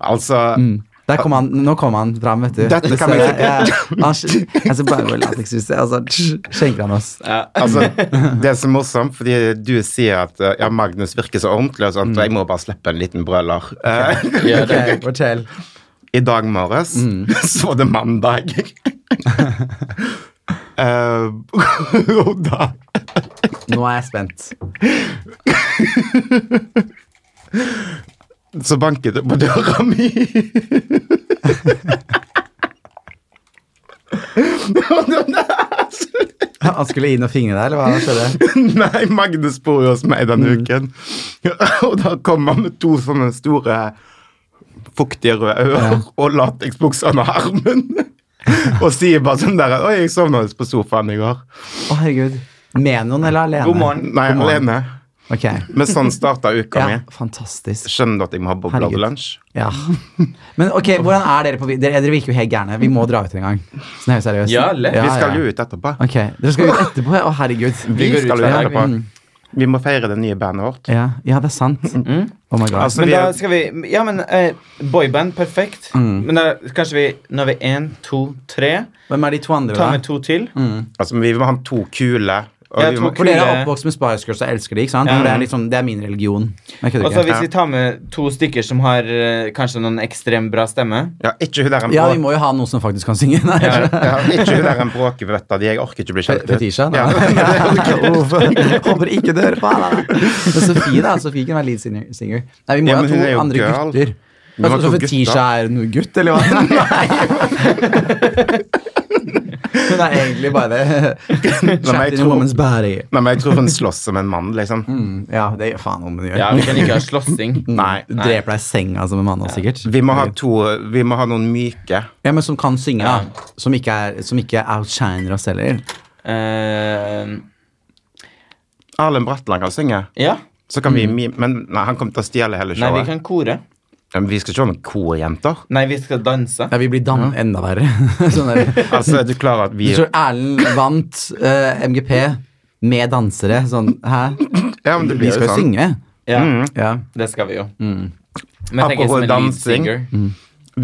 S3: Altså
S1: Der kom han, nå kom han fram, vet du.
S3: Dette
S1: Du
S3: kan
S1: ser
S3: vi-
S1: det, ja. Han sk- altså, bare med latekshuset, altså, skjenker han oss.
S3: Altså, det er så morsomt, fordi du sier at eh, ja, Magnus virker så ordentlig, og sånt, og jeg må bare slippe en liten brøler. Eh,
S2: Gjør det.
S1: Ok, fortell.
S3: I dag morges så var det mandag. Eh, og da
S1: Nå er jeg spent.
S3: så banket det på døra mi.
S1: Han skulle inn og fingre deg, eller hva skjedde?
S3: Nei, Magnus bor jo hos meg denne uken. og da kom han med to sånne store fuktige røde ører og lateksbukser under armen. og sier bare sånn der Oi, jeg sovna litt på sofaen i går.
S1: Å, herregud. Med noen eller alene?
S2: God morgen.
S3: Nei, alene.
S1: Ok.
S3: Men sånn starta uka
S1: Ja,
S3: mi.
S1: fantastisk.
S3: Skjønner du at jeg må ha bobler
S1: Herregud.
S3: til lunsj?
S1: Ja. Men ok, hvordan er dere på vi- Dere, dere virker jo helt gærne. Vi må dra ut en gang. Sånn helt seriøst.
S2: Ja, lett.
S3: Vi skal jo ut etterpå.
S1: Ok, Dere skal ut etterpå? ja? Å, herregud. mm.
S3: Vi
S2: går ut
S3: skal
S2: hver
S3: jo
S2: dag,
S3: etterpå. Vi må feire det nye bandet vårt.
S1: Ja, ja, det er sant.
S2: Mm.
S1: Oh my god.
S3: Altså,
S2: Men
S3: vi
S2: da
S3: er-
S2: skal vi Ja, men eh, boyband, perfekt. Men da kanskje vi Nå er vi én, to, tre.
S1: Hvem er de to andre,
S2: Ta med
S1: da?
S2: to til.
S3: Altså, vi må ha to kule Og
S2: Jeg
S3: vi
S2: tror
S3: må-
S1: For dere er
S2: Kule-
S1: oppvokst med Spice Girls og elsker de, ikke sant?
S2: Ja.
S1: For Det, er liksom, det er min religion. Jeg kødder
S2: Og så
S1: ikke.
S2: hvis vi tar med to stykker som har eh, kanskje noen ekstremt bra stemme
S3: Ja, ikke hun der en
S1: Ja,
S3: brå-
S1: vi må jo ha noen som faktisk kan synge. Nei,
S2: Ja.
S3: ja, ikke hun der en bråkebøtta di. Jeg orker ikke bli skjelt ut.
S1: Fetisha?
S3: Ja.
S1: Håper ikke dør på henne. Men Sofie, da. Sofie kan være lead singer. singer. Nei, vi må
S3: Ja,
S1: ha
S3: men
S1: to
S3: hun er jo
S1: andre
S3: girl.
S1: gutter.
S3: Vi må
S1: Altså,
S3: ha to
S1: så
S3: gutter.
S1: Fetisha er noe gutt, eller hva? Nei. Hun er egentlig bare Trapped in a
S3: tror-
S1: woman's body.
S3: Nei, men jeg tror hun slåss som en mann, liksom.
S1: Mm, ja, det gjør faen om hun gjør.
S2: Ja, vi kan ikke ha slåssing.
S3: Nei,
S1: Du dreper deg i senga som en mann også, sikkert.
S3: Vi må ha to Vi må ha noen myke.
S1: Ja, men som kan synge, da. Som ikke, er, som ikke outshiner oss heller.
S2: Eh,
S3: Erlend Bratland kan synge.
S2: ja.
S3: Så kan
S1: Mm.
S3: vi mime Men nei, han kommer til å stjele hele
S2: Nei, vi
S3: showet.
S2: kan kore.
S3: Ja, men vi skal ikke ha noen korjenter.
S2: Nei, vi skal danse.
S1: Ja, vi blir dam enda verre. sånn der.
S3: Altså, er du klar at vi
S1: Jeg tror Erlend vant eh, MGP med dansere. Sånn, hæ?
S3: Ja, men det
S1: Vi
S3: blir
S1: skal
S3: jo
S1: jo
S3: sånn.
S1: synge.
S2: Ja,
S1: Ja.
S2: det skal vi jo. Men jeg tenker
S3: Apropos
S2: som en lead
S3: dansing.
S2: singer.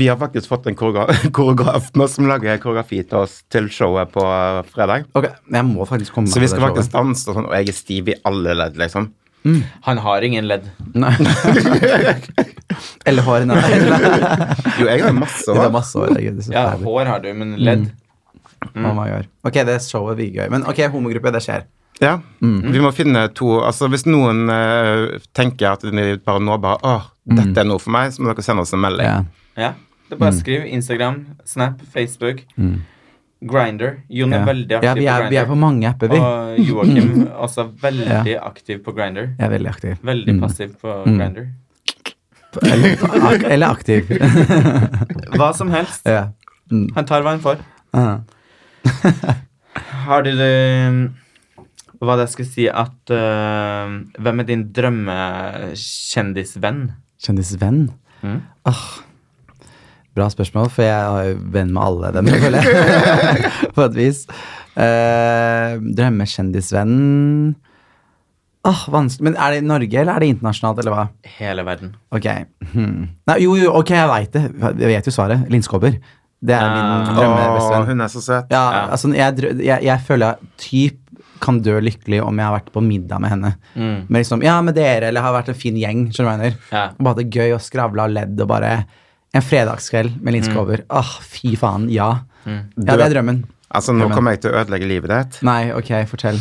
S3: Vi har faktisk fått en koreograf, koreograf nå som lager koreografi til oss til showet på eh, fredag.
S1: Ok, jeg må faktisk komme meg
S3: Så vi
S1: på
S3: skal
S1: det
S3: faktisk danse og sånn, og jeg er stiv i alle ledd, liksom.
S2: Han har ingen ledd.
S1: showet. Nei. Eller hår. Nei.
S3: Jo, jeg har jo masse
S1: Det er
S3: hår.
S1: masse hår. herregud, det er så
S2: Ja,
S1: fælt.
S2: hår har du, men ledd
S1: Oh my God. ok, det er showet vi gøy. Men ok, homogruppe, det skjer.
S3: Ja.
S1: Mm.
S3: Vi må finne to Altså, hvis noen eh, tenker at de bare nå bare Å, dette
S1: Mm.
S3: er noe for meg, så må dere sende oss en melding.
S2: Ja. Det er bare skriv Instagram, Snap, Facebook, Grinder. Jon
S1: Mm.
S2: er
S1: Ja.
S2: veldig aktiv
S1: ja, vi, er,
S2: på
S1: vi er på
S2: Grinder.
S1: mange apper, vi.
S2: Og Joakim også veldig aktiv på Grinder.
S1: Jeg er veldig aktiv.
S2: Veldig passiv på
S1: Mm.
S2: Grinder.
S1: Eller, ak eller aktiv.
S2: Hva som helst.
S1: ja.
S2: Han tar hva han får.
S1: Ah.
S2: Har du det Hva det jeg skulle si at eh, Hvem er din drømmekjendisvenn?
S1: Kjendisvenn?
S2: Mm.
S1: Åh, bra spørsmål, for jeg er jo venn med alle dem, jeg føler jeg. På et vis. Eh, drømmekjendisvenn Åh, Ah, vanskelig. Men er det i Norge, eller er det internasjonalt, eller hva?
S2: Hele verden.
S1: Ok. Hmm. Nei, jo, jo, ok, jeg veit det. Jeg vet jo svaret. Linskåber. Det er
S2: Ah.
S1: min
S3: Å,
S1: drømmebestevenn.
S3: hun er så søt.
S1: Ja,
S2: Ja.
S1: altså, jeg, drø- jeg, jeg føler jeg typ kan dø lykkelig om jeg har vært på middag med henne.
S2: Mm.
S1: Men liksom, ja, med dere, eller har vært en fin gjeng. skjønner du hva jeg mener?
S2: Ja.
S1: Og bare hatt det gøy og skravla og ledd og bare En fredagskveld med linskåper. Åh, fy faen, ja. Ja, det er drømmen.
S3: Altså, nå
S1: Amen.
S3: kommer jeg til å ødelegge livet ditt.
S1: Nei, ok, fortell.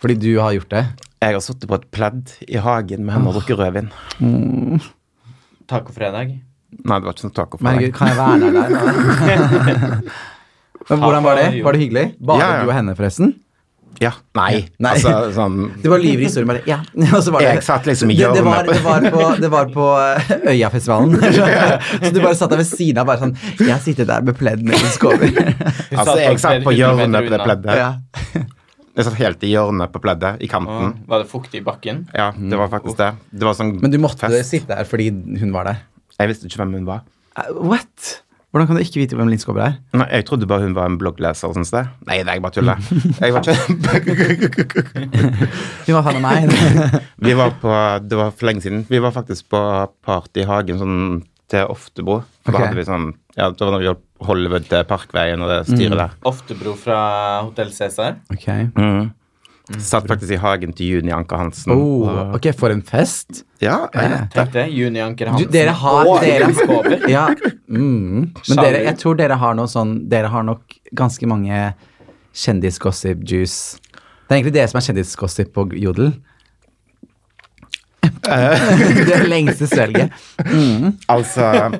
S1: Fordi du har gjort det.
S3: Jeg har sittet på et pledd i hagen med henne og drukket rødvin.
S2: Tacofredag.
S3: Nei, det var ikke noe taco
S1: Men
S3: for
S1: herregud,
S3: deg.
S1: kan jeg være der? da? Men hvordan var det? Var det hyggelig? Bare
S3: Ja, ja.
S1: du og henne, forresten?
S3: Ja, nei.
S1: Nei.
S3: Altså, sånn
S1: Det var liv i historien, bare. Ja. Og så var det,
S3: Jeg satt liksom i
S1: det, det,
S3: hjørnet.
S1: var, det, var på, det var på eh, Øyafestivalen. Så du bare satt der ved siden av bare sånn Jeg sitter der med pledd med linskåper.
S2: Hun
S3: Altså, jeg satt på
S2: flere
S3: hjørnet på
S2: hundre meter
S3: det
S2: unna.
S3: pleddet.
S1: Ja.
S3: Jeg satt helt i hjørnet på pleddet, i
S1: Mm.
S3: kanten.
S2: Å, Var det fuktig i bakken?
S3: Ja, det var faktisk det. Det var sånn
S1: Men du måtte
S3: fest.
S1: sitte der fordi hun var der.
S3: Jeg visste ikke hvem hun var.
S1: Eh, What? Hvordan kan du ikke vite hvem Linn Skåber er?
S3: Nei, Jeg trodde bare hun var en bloggleser. Sånn sted. Nei, det er jeg bare tuller. Jeg var ikke
S1: Hun var faen meg
S3: Vi var på Det var for lenge siden. Vi var faktisk på party i hagen sånn til Oftebro.
S1: Ok.
S3: For da hadde vi sånn Ja, det var når vi holdt Hollywood til Parkveien og det
S1: Mm.
S3: styret der.
S2: Oftebro fra Hotell Cæsar.
S1: Ok. Mm.
S3: Satt faktisk i hagen til Juni Anker Hansen.
S1: Oh, ok, for en fest.
S3: Ja,
S1: Ja.
S3: jeg vet det.
S2: Tenk det. Juni Anker
S1: Du,
S2: Hansen.
S1: dere har
S2: og
S1: dere,
S2: Jens Skåber.
S1: ja, mm. Men dere, jeg tror dere har noe sånn Dere har nok ganske mange kjendisgossip-juice. Det er egentlig dere som er kjendisgossip på Jodel. det lengste svelget.
S3: Altså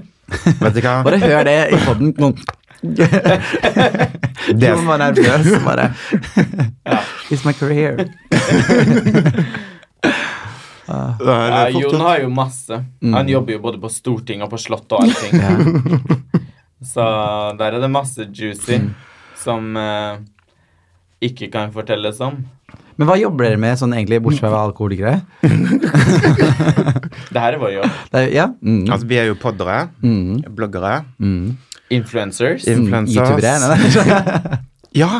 S3: Vet du hva?
S1: Bare hør det i poden. Noen
S3: Det,
S1: Man var nervøs og bare It's my career.
S3: det
S2: Ja,
S3: er fort
S2: Eh, Jon
S3: gjort.
S2: har jo masse.
S3: Mm.
S2: Han jobber jo både på Stortinget og på Slottet og allting. Så der er det masse juicy
S3: Mm.
S2: som eh, ikke kan fortelles om.
S1: Men hva jobber dere med sånn egentlig, bortsett fra å være alkoholikere?
S2: Det her er vår jobb.
S1: Det er, ja? Mm.
S3: Altså, vi er jo poddere, bloggere,
S2: Influencers.
S3: influencers.
S1: Youtubere? Mm. Nei, nei.
S3: Ja!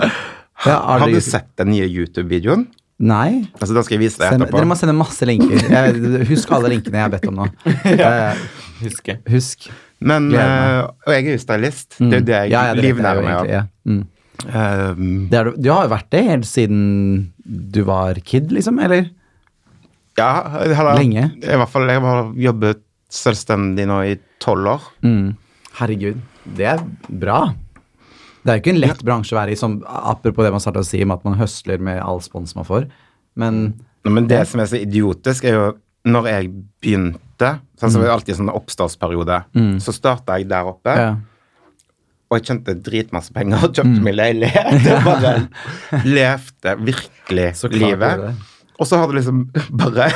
S1: Ja, er
S3: Har
S1: dere
S3: du
S1: YouTube-
S3: sett den nye YouTube-videoen?
S1: Nei.
S3: Altså, Da skal jeg vise deg
S1: Send,
S3: etterpå.
S1: dere må sende masse linker. Jeg, husk alle linkene jeg har bedt om nå. Eh,
S2: Husker.
S1: husk.
S3: Men,
S1: Gleder Mm.
S3: eh, og jeg er jo stylist. Det er jo det jeg
S1: Ja, ja, det vet jeg jo
S3: livnærer meg
S1: egentlig,
S3: av.
S1: ja. Mm.
S3: Ehm,
S1: Det er, du- du har jo vært det helt siden du var kid, liksom? Eller?
S3: Ja, jeg har,
S1: Lenge?
S3: I hvert fall, jeg har jobbet selvstendig nå i tolv år.
S1: Mm. Herregud, det er bra. Det er jo ikke en lett bransje å være i, som, apropos det man starta å si om at man høsler med all spons man får. Men
S3: Nå, Men det som er så idiotisk, er jo når jeg begynte sånn som det er alltid sånn oppstartsperiode. Så starta jeg der oppe,
S1: Mm. ja. Mm.
S3: og jeg tjente dritmasse penger og kjøpte meg leilighet. Og bare levde virkelig
S1: Så klart gjorde du det.
S3: livet. Og så har det liksom bare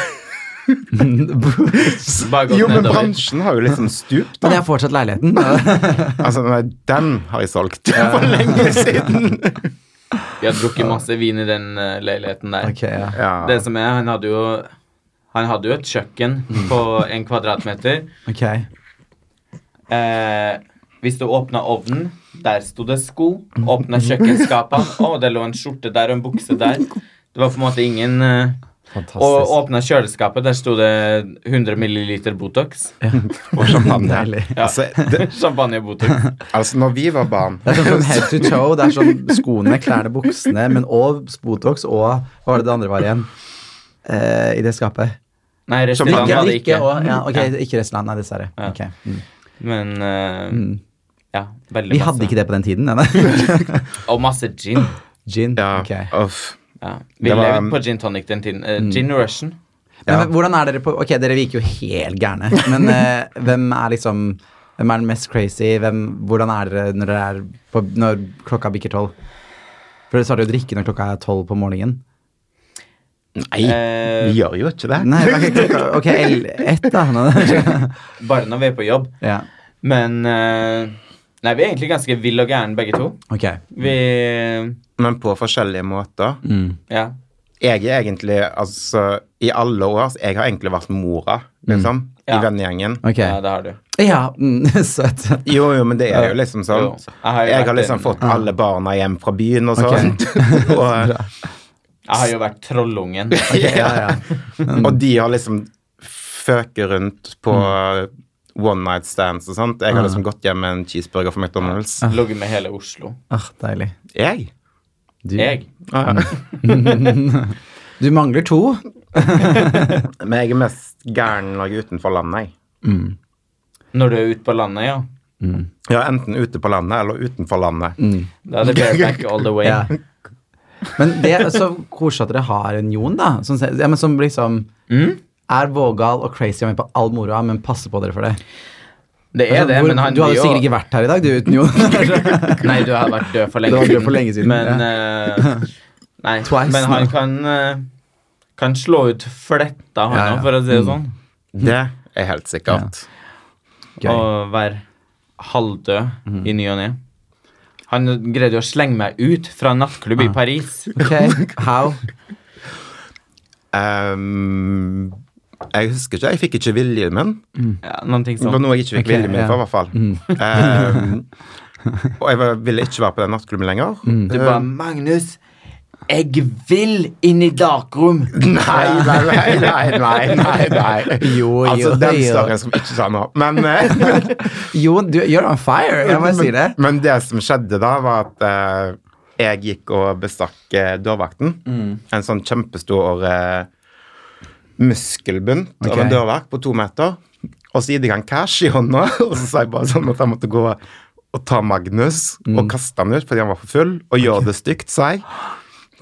S2: Bare gått
S3: Jo, men
S2: nedover.
S3: bransjen har jo liksom stupt,
S1: Men
S3: da.
S1: jeg har fortsatt leiligheten.
S3: Altså, nei, den har jeg solgt for lenge siden.
S2: Vi har drukket masse vin i den eh, leiligheten der.
S1: Ok, ja.
S3: Ja.
S2: Det som er, han hadde jo Han hadde jo et kjøkken
S3: Mm.
S2: på en kvadratmeter.
S1: Ok.
S2: Eh, hvis du åpna ovnen, der sto det sko. Åpna kjøkkenskapene, å, det lå en skjorte der og en bukse der. Det var på en måte ingen eh, Og
S1: Fantastisk.
S2: åpna kjøleskapet, der sto det 100 milliliter Botox.
S3: Og champagne.
S1: Deilig.
S2: Ja.
S3: Altså, det,
S2: Champagne og Botox.
S3: altså, når vi var barn
S1: Det er sånn from head to toe. Det er sånn skoene, klærne, buksene, men òg Botox og Hva var det det andre var igjen? Eh, I det skapet.
S2: Nei, restaurant
S3: Champagne.
S2: var det ikke.
S1: og, ja, ok,
S2: Ja.
S1: ikke resten av landet, dessverre.
S2: Ja.
S1: Ok. Mm.
S2: Men eh, ja, veldig
S1: Vi hadde ikke det på den tiden. Nei,
S2: Og masse gin.
S1: Gin.
S3: ja,
S1: ok.
S3: uff.
S2: Ja. Vi
S3: Det var-
S2: levde på gin tonic den tiden. Eh, Gin Russian.
S1: Men,
S3: Ja.
S1: men hvordan er dere på Ok, dere virker jo helt gærne, men eh, hvem er liksom Hvem er den mest crazy? Hvem, hvordan er dere når, dere er på, når klokka bikker tolv? For dere starter jo å drikke når klokka er tolv på morgenen.
S3: Nei,
S2: Eh,
S3: vi gjør jo ikke det.
S1: Nei, ok, klokka, ok, el- ett, da.
S2: Bare når vi er på jobb.
S1: ja,
S2: Men eh, Nei, vi er egentlig ganske vill og gærne begge to.
S1: ok.
S2: Vi
S3: Men på forskjellige måter.
S2: Ja.
S3: Jeg er egentlig, altså I alle år Jeg har egentlig vært mora, liksom.
S2: Ja.
S3: I vennegjengen.
S1: ok.
S2: ja det har du.
S1: Ja, mm, søt.
S3: Jo, jo, men det er jo liksom sånn.
S2: Jo. Jeg har jo
S3: Jeg
S2: vært
S3: har liksom
S2: en-
S3: fått alle barna hjem fra byen og
S1: Ok.
S3: sånt. og,
S2: Jeg har jo vært trollungen.
S1: Ja, ja.
S3: og de har liksom føket rundt på one night stands og sånt. Jeg har liksom gått hjem med en cheeseburger fra McDonald's.
S2: Ligget med hele Oslo.
S1: Åh, Ah, deilig.
S3: Jeg?
S1: Du,
S2: Jeg.
S3: Ja.
S1: du mangler to.
S3: Men jeg er mest gæren når jeg er utenfor landet, jeg.
S2: Når du er ute på landet, ja.
S1: Mm.
S3: Ja, enten ute på landet eller utenfor landet.
S2: Da er det bareback all the way.
S1: Ja. Men det er så koselig at dere har en Jon, da. Som, se- ja, men som liksom
S2: Mm?
S1: er vågal og crazy og med på all moroa, men passer på dere for det. Altså,
S2: Det er det,
S1: Hvor-
S2: men han
S1: du hadde
S2: blir jo-
S1: sikkert ikke vært her i dag, du, uten Jon.
S2: Nei, du hadde vært død for lenge
S1: Du hadde
S2: siden.
S1: vært død for lenge siden,
S2: Men, eh, nei,
S1: Twice
S2: men han
S1: nå.
S2: kan, eh, kan slå ut fletta, han òg,
S1: Ja, Mm. ja.
S2: for å si det sånn.
S3: Det er helt sikkert.
S1: Gøy.
S2: Og være halvdød
S1: Mm.
S2: i ny og ne. Han greide jo å slenge meg ut fra en nattklubb
S1: Ah.
S2: i Paris.
S1: Mm. Ok, how?
S3: Ehm, jeg husker ikke. Jeg fikk ikke viljen min.
S2: Ja, noen ting
S3: Det var
S2: sånn.
S3: noe jeg ikke
S1: Mm.
S3: fikk
S1: Ok,
S3: viljen min
S1: ja. Mm.
S3: for, i hvert fall. Ehm, og jeg var, ville ikke være på den nattklubben lenger.
S2: Du
S1: Eh.
S2: bare 'Magnus, jeg vil inn i darkroom'.
S3: Nei, nei, nei, nei, nei, nei, nei.
S1: Jo, jo,
S3: altså, den
S1: jo.
S3: storyen som ikke sa noe. Men, eh,
S1: Jon, du, you're on fire, jeg må si det.
S3: men det som skjedde da, var at eh, jeg gikk og bestakk eh, dørvakten.
S1: Mm.
S3: En sånn kjempestor eh, muskelbunt av
S1: Ok.
S3: en dørvakt på to meter. Og så gikk han cash i hånda, og så sa jeg bare sånn at jeg måtte gå og ta Magnus
S1: Mm.
S3: og kaste han ut fordi han var for full, og gjøre det stygt, sa jeg.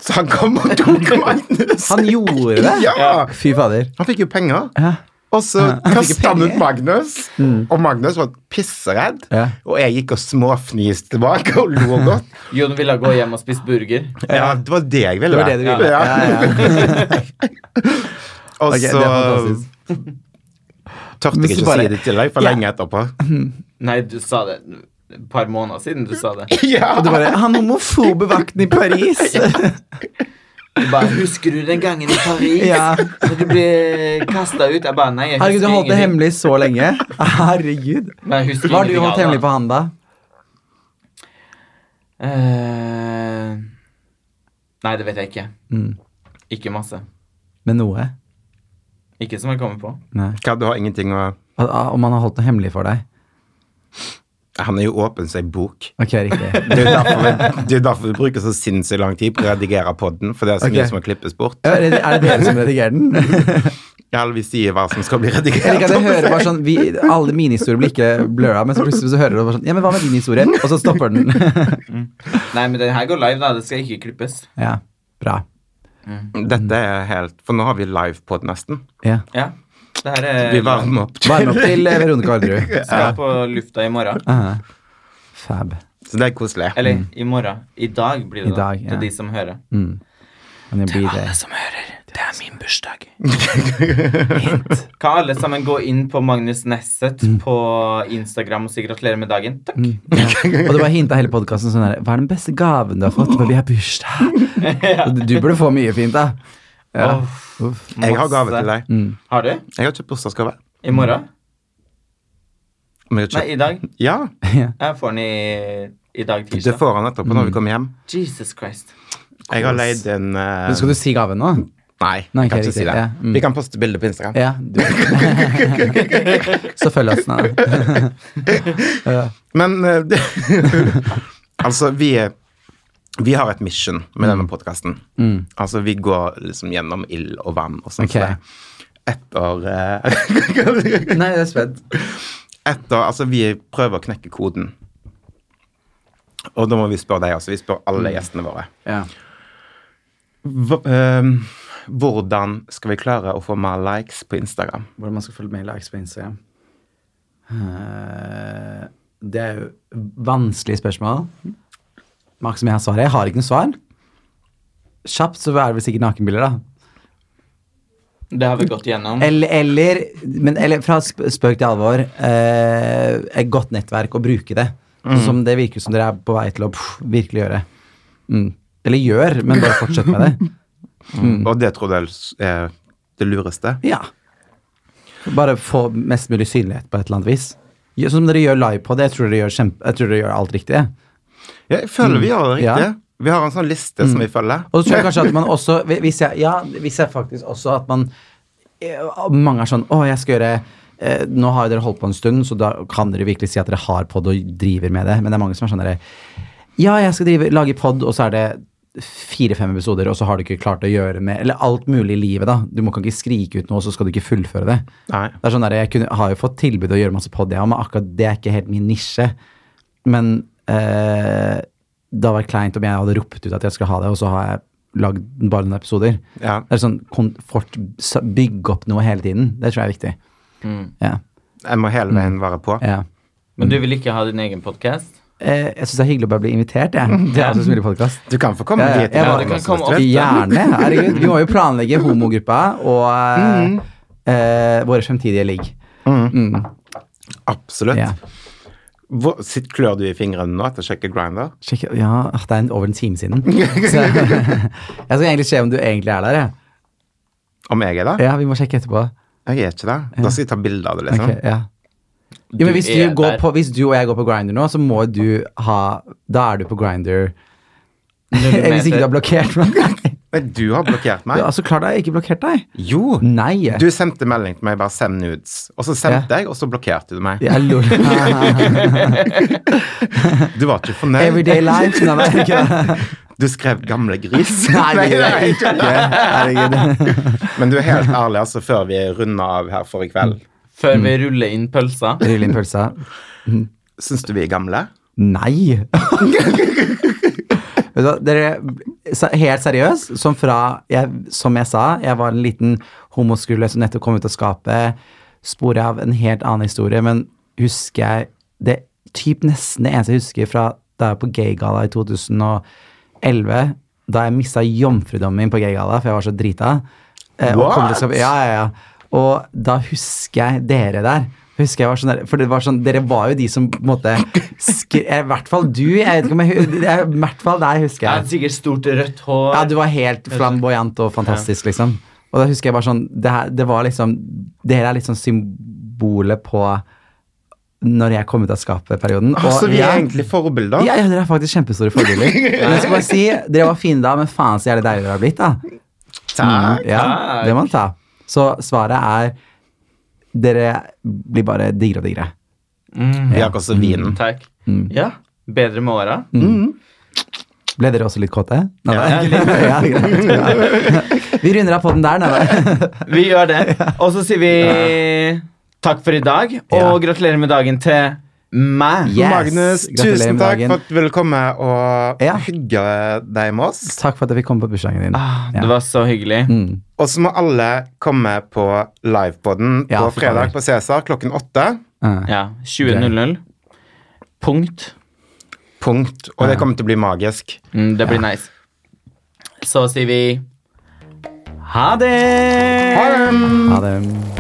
S3: Så han kom og tok Magnus.
S1: Han gjorde det?
S3: Ja.
S1: Fy fader.
S3: Han fikk jo penger.
S1: Ja.
S3: Og så kastet han ut
S1: penger. Mm.
S3: Magnus, og Magnus var pisseredd.
S1: Ja.
S3: Og jeg gikk og småfniste tilbake og lo godt.
S2: Jon ville gå hjem og spise burger.
S3: Ja, det var det jeg ville.
S1: Det var det du ville.
S3: Ja.
S1: Ja, ja.
S3: Og
S1: Ok, det er
S3: så
S1: fantastisk.
S3: tørte
S1: Men
S3: jeg
S1: så
S3: ikke å
S1: bare-
S3: si det til deg for
S1: Ja.
S3: lenge etterpå.
S2: Nei, du sa det et par måneder siden. du sa det.
S3: Ja,
S1: Og du bare Han homofobe vakten i Paris!
S2: Du bare 'Husker du den gangen i Paris?'
S1: Ja.
S2: Når du ble kasta ut? Jeg bare Nei, jeg
S1: Herregud,
S2: husker
S1: du holdt det
S2: ingenting.
S1: hemmelig så lenge. Herregud.
S2: Nei, jeg husker
S1: Hva har du
S2: ingenting
S1: holdt
S2: av det.
S1: hemmelig på han, da?
S2: Eh, nei, det vet jeg ikke. Ikke masse.
S1: Mm. Med noe?
S2: Ikke som jeg kommer på.
S1: Nei. ah,
S3: Hva, du har ingenting å
S1: Om han har holdt noe hemmelig for deg?
S3: Han er jo åpen som ei bok.
S1: Ok, riktig.
S3: Det er jo derfor vi, det er jo derfor vi bruker så sinnssykt lang tid på å redigere podden, for det er så
S1: Ok.
S3: mye som må klippes bort.
S1: Er det, er det dere som redigerer den?
S3: Ja, eller vi sier hva som skal bli
S1: Jeg
S3: redigert.
S1: liker at jeg hører bare sånn vi, Alle mine historier blir ikke blurra, men så plutselig så hører du bare sånn Ja, men hva med din historie? Og så stopper den.
S2: Nei, men den her går live, da. Det skal ikke klippes.
S1: Ja, bra.
S3: Dette er helt For nå har vi livepod, nesten.
S1: Ja.
S2: Ja. Det her er
S3: Vi varmer opp.
S1: Varme opp til eh, Veronica Orderud.
S2: Skal på lufta i morgen.
S1: Aha. Fab.
S3: Så det er koselig.
S2: Eller i morgen. I dag blir det
S1: I dag,
S2: da.
S1: ja.
S2: Til de som hører.
S1: Mm. Men det blir eh, det.
S2: som hører, det er min bursdag.
S1: Hint.
S2: Kan alle sammen gå inn på Magnus Nesset på Instagram og si gratulerer med dagen? Takk.
S1: Mm. Ja. Og det var hinta hele podkasten sånn her Hva er den beste gaven du har fått? Baby, jeg har bursdag.
S2: Ja.
S1: Du burde få mye fint, da. Ja.
S2: Åh,
S1: Uff.
S3: Jeg har
S2: masse.
S3: gave til deg.
S1: Mm.
S2: Har du?
S3: Jeg har kjøpt bursdagsgave.
S2: I morgen?
S3: Men jeg har
S2: Nei,
S3: kjøpt-
S2: i dag.
S3: Ja,
S1: Ja.
S2: Jeg får den i, i dag,
S3: det
S2: tirsdag.
S3: får han etterpå
S1: Mm.
S3: når vi kommer hjem.
S2: Jesus Christ.
S3: Jeg har leid en eh,
S1: Men Skal du si gaven nå?
S3: Nei,
S1: Nei,
S3: jeg kan
S1: ok,
S3: ikke si
S1: riktig,
S3: det.
S1: ja, mm.
S3: Vi kan poste bilde på Instagram.
S1: Ja. Du. Så følg oss nå.
S3: Men eh, det, altså, vi, er- vi har et mission med
S1: Mm.
S3: denne podkasten. Altså, vi går liksom gjennom ild og vann og sånt.
S1: Ok.
S3: Okay. Etter, eh,
S1: Nei, jeg er spent.
S3: etter Altså, vi prøver å knekke koden. Og da må vi spørre deg også. Vi spør
S1: Mm.
S3: alle gjestene våre.
S1: Ja.
S3: Hva, eh, hvordan skal vi klare å få mer likes på Instagram?
S1: Hvordan man skal følge med i likes på Instagram. Eh, Det er jo vanskelige spørsmål. Maks som jeg har svaret. Jeg har ikke noe svar. Kjapt så er det vel sikkert nakenbilder, da.
S2: Det har vi gått gjennom.
S1: Eller, eller, men, eller fra sp spøk til alvor eh, Et godt nettverk å bruke det. Som det virker som dere er på vei til å pff, virkelig gjøre. Mm. Eller gjør, men bare fortsett med det. Mm.
S3: Og det tror jeg er det lureste.
S1: Ja. Bare få mest mulig synlighet på et eller annet vis. Gjør- Sånn som dere gjør live på det. Jeg tror dere gjør, kjempe, jeg tror dere gjør alt riktig. jeg.
S3: Ja, jeg føler vi gjør det
S1: Mm. Ja. Mm.
S3: riktig. Vi har en sånn liste som vi følger.
S1: Og så tror jeg kanskje at man også Hvis jeg, ja, hvis jeg faktisk også at man eh, Mange er sånn Å, jeg skal gjøre eh, Nå har jo dere holdt på en stund, så da kan dere virkelig si at dere har pod og driver med det. Men det er mange som er sånn derre Ja, jeg skal drive, lage pod, og så er det fire-fem episoder, og så har du ikke klart å gjøre mer Eller alt mulig i livet, da. Du må kan ikke skrike ut noe, og så skal du ikke fullføre det.
S3: Nei.
S1: Det er sånn der, Jeg kunne, har jo fått tilbud å gjøre masse pod, jeg òg, men akkurat det er ikke helt min nisje. Men eh, det hadde vært kleint om jeg hadde ropt ut at jeg skulle ha det, og så har jeg lagd bare noen episoder.
S3: Ja.
S1: Det er sånn kon- fort, sa- Bygge opp noe hele tiden. Det tror jeg er viktig.
S2: Mm.
S1: Ja.
S3: Jeg må hele veien være på.
S1: ja.
S2: Men du vil ikke ha din egen podkast?
S1: Eh, jeg syns det er hyggelig å bare bli invitert, jeg. Til
S2: Ja.
S1: Asus Mulig podcast.
S3: Du kan få komme
S1: Ja, ja,
S3: dit.
S1: jeg
S3: når
S1: bare-
S3: som
S2: kan
S3: helst,
S2: komme
S3: vet du.
S1: Gjerne. Herregud. Vi må jo planlegge homogruppa og eh, eh, våre fremtidige ligg. Mm,
S3: Absolutt.
S1: Ja.
S3: Hvor, sitt, klør du i fingrene nå etter å sjekke Grinder?
S1: Sjekk, ja, ah, det er en, over en time siden. Så, jeg skal egentlig se om du egentlig er der. Jeg.
S3: Om jeg er det?
S1: Ja, vi må sjekke etterpå.
S3: Jeg er ikke det. Da skal jeg ta bilde av det,
S1: Ok,
S3: liksom.
S1: ja. Jo, men
S2: Du
S1: hvis du,
S2: er
S1: går
S2: der.
S1: på, hvis du og jeg går på Grinder nå, så må du ha Da er du på Grinder Hvis ikke du har blokkert meg.
S3: Men du har blokkert meg.
S1: Ja, så klart har altså, jeg ikke blokkert deg.
S3: Jo!
S1: Nei.
S3: Du sendte melding til meg bare 'send nudes', og så sendte jeg, og så blokkerte du meg.
S1: Ja, lol.
S3: Du var ikke fornøyd.
S1: Everyday life. Nei, nei, ikke. det.
S3: Du skrev 'gamle gris'.
S1: nei, det gjør jeg ikke. Herregud.
S3: Men du er helt ærlig, altså, før vi runder av her for i kveld.
S2: Før vi ruller inn pølsa.
S1: Rull inn pølsa.
S3: Syns du vi er gamle?
S1: Nei! Vet du hva, Dere, se- helt seriøst, som, fra, jeg, som jeg sa, jeg var en liten homoskrule som nettopp kom ut av skapet. Sporet av en helt annen historie, men husker jeg det typ nesten det eneste jeg husker fra da jeg var på Gaygala i 2011, da jeg mista jomfrudommen min på Gaygala, for jeg var så drita. Eh, og kom til å
S3: What?
S1: skape- ja, ja, ja. Og da husker jeg dere der. Husker jeg var sånn der, for det var sånn, Dere var jo de som på en måte skre, I hvert fall du. Jeg vet ikke om jeg, hu- jeg, I hvert fall deg,
S2: Jeg
S1: husker
S2: har
S1: jeg.
S2: sikkert stort rødt hår.
S1: Ja, Du var helt flamboyant og fantastisk, liksom. Og da husker jeg bare sånn det, her, det var liksom Dere er litt sånn symbolet på når jeg kom ut av skapet-perioden.
S3: Altså, vi er
S1: ja.
S3: egentlig forbilder.
S1: Ja, ja, dere er faktisk kjempestore forbilder. Men jeg skal bare si, Dere var fine da, men faen så jævlig deilige dere har blitt. da
S3: Takk.
S1: Mm, Ja,
S2: Takk.
S1: det må man ta. Så svaret er Dere blir bare diggere og diggere.
S2: Mm.
S3: Vi har ikke også vinen.
S2: Takk. Ja. Bedre med åra.
S1: Ble dere også litt kåte? Nei,
S2: Ja,
S1: nei. Ja, greit. Ja. Vi runder av podden der, nei, nei.
S2: Vi gjør det. Og så sier vi takk for i dag, og
S1: Ja.
S2: gratulerer med dagen til meg.
S1: Yes.
S3: Magnus,
S1: Gratulerer
S3: tusen
S1: med
S3: takk
S1: dagen.
S3: for at du ville komme og
S1: Ja.
S3: hygge deg med oss.
S1: Takk for at jeg fikk komme på bursdagen din.
S2: Ah,
S1: Ja.
S2: Det var så hyggelig.
S1: Mm.
S3: Og så må alle komme på livepoden
S1: Ja,
S3: på
S1: for
S3: fredag
S1: faen.
S3: på Cæsar klokken åtte.
S1: Ja.
S2: Ja. 20.00. Punkt.
S3: Punkt. Og det kommer til å bli magisk.
S2: Mm, det blir nice. Så sier vi ha det!
S3: Ha det!
S1: Ha det.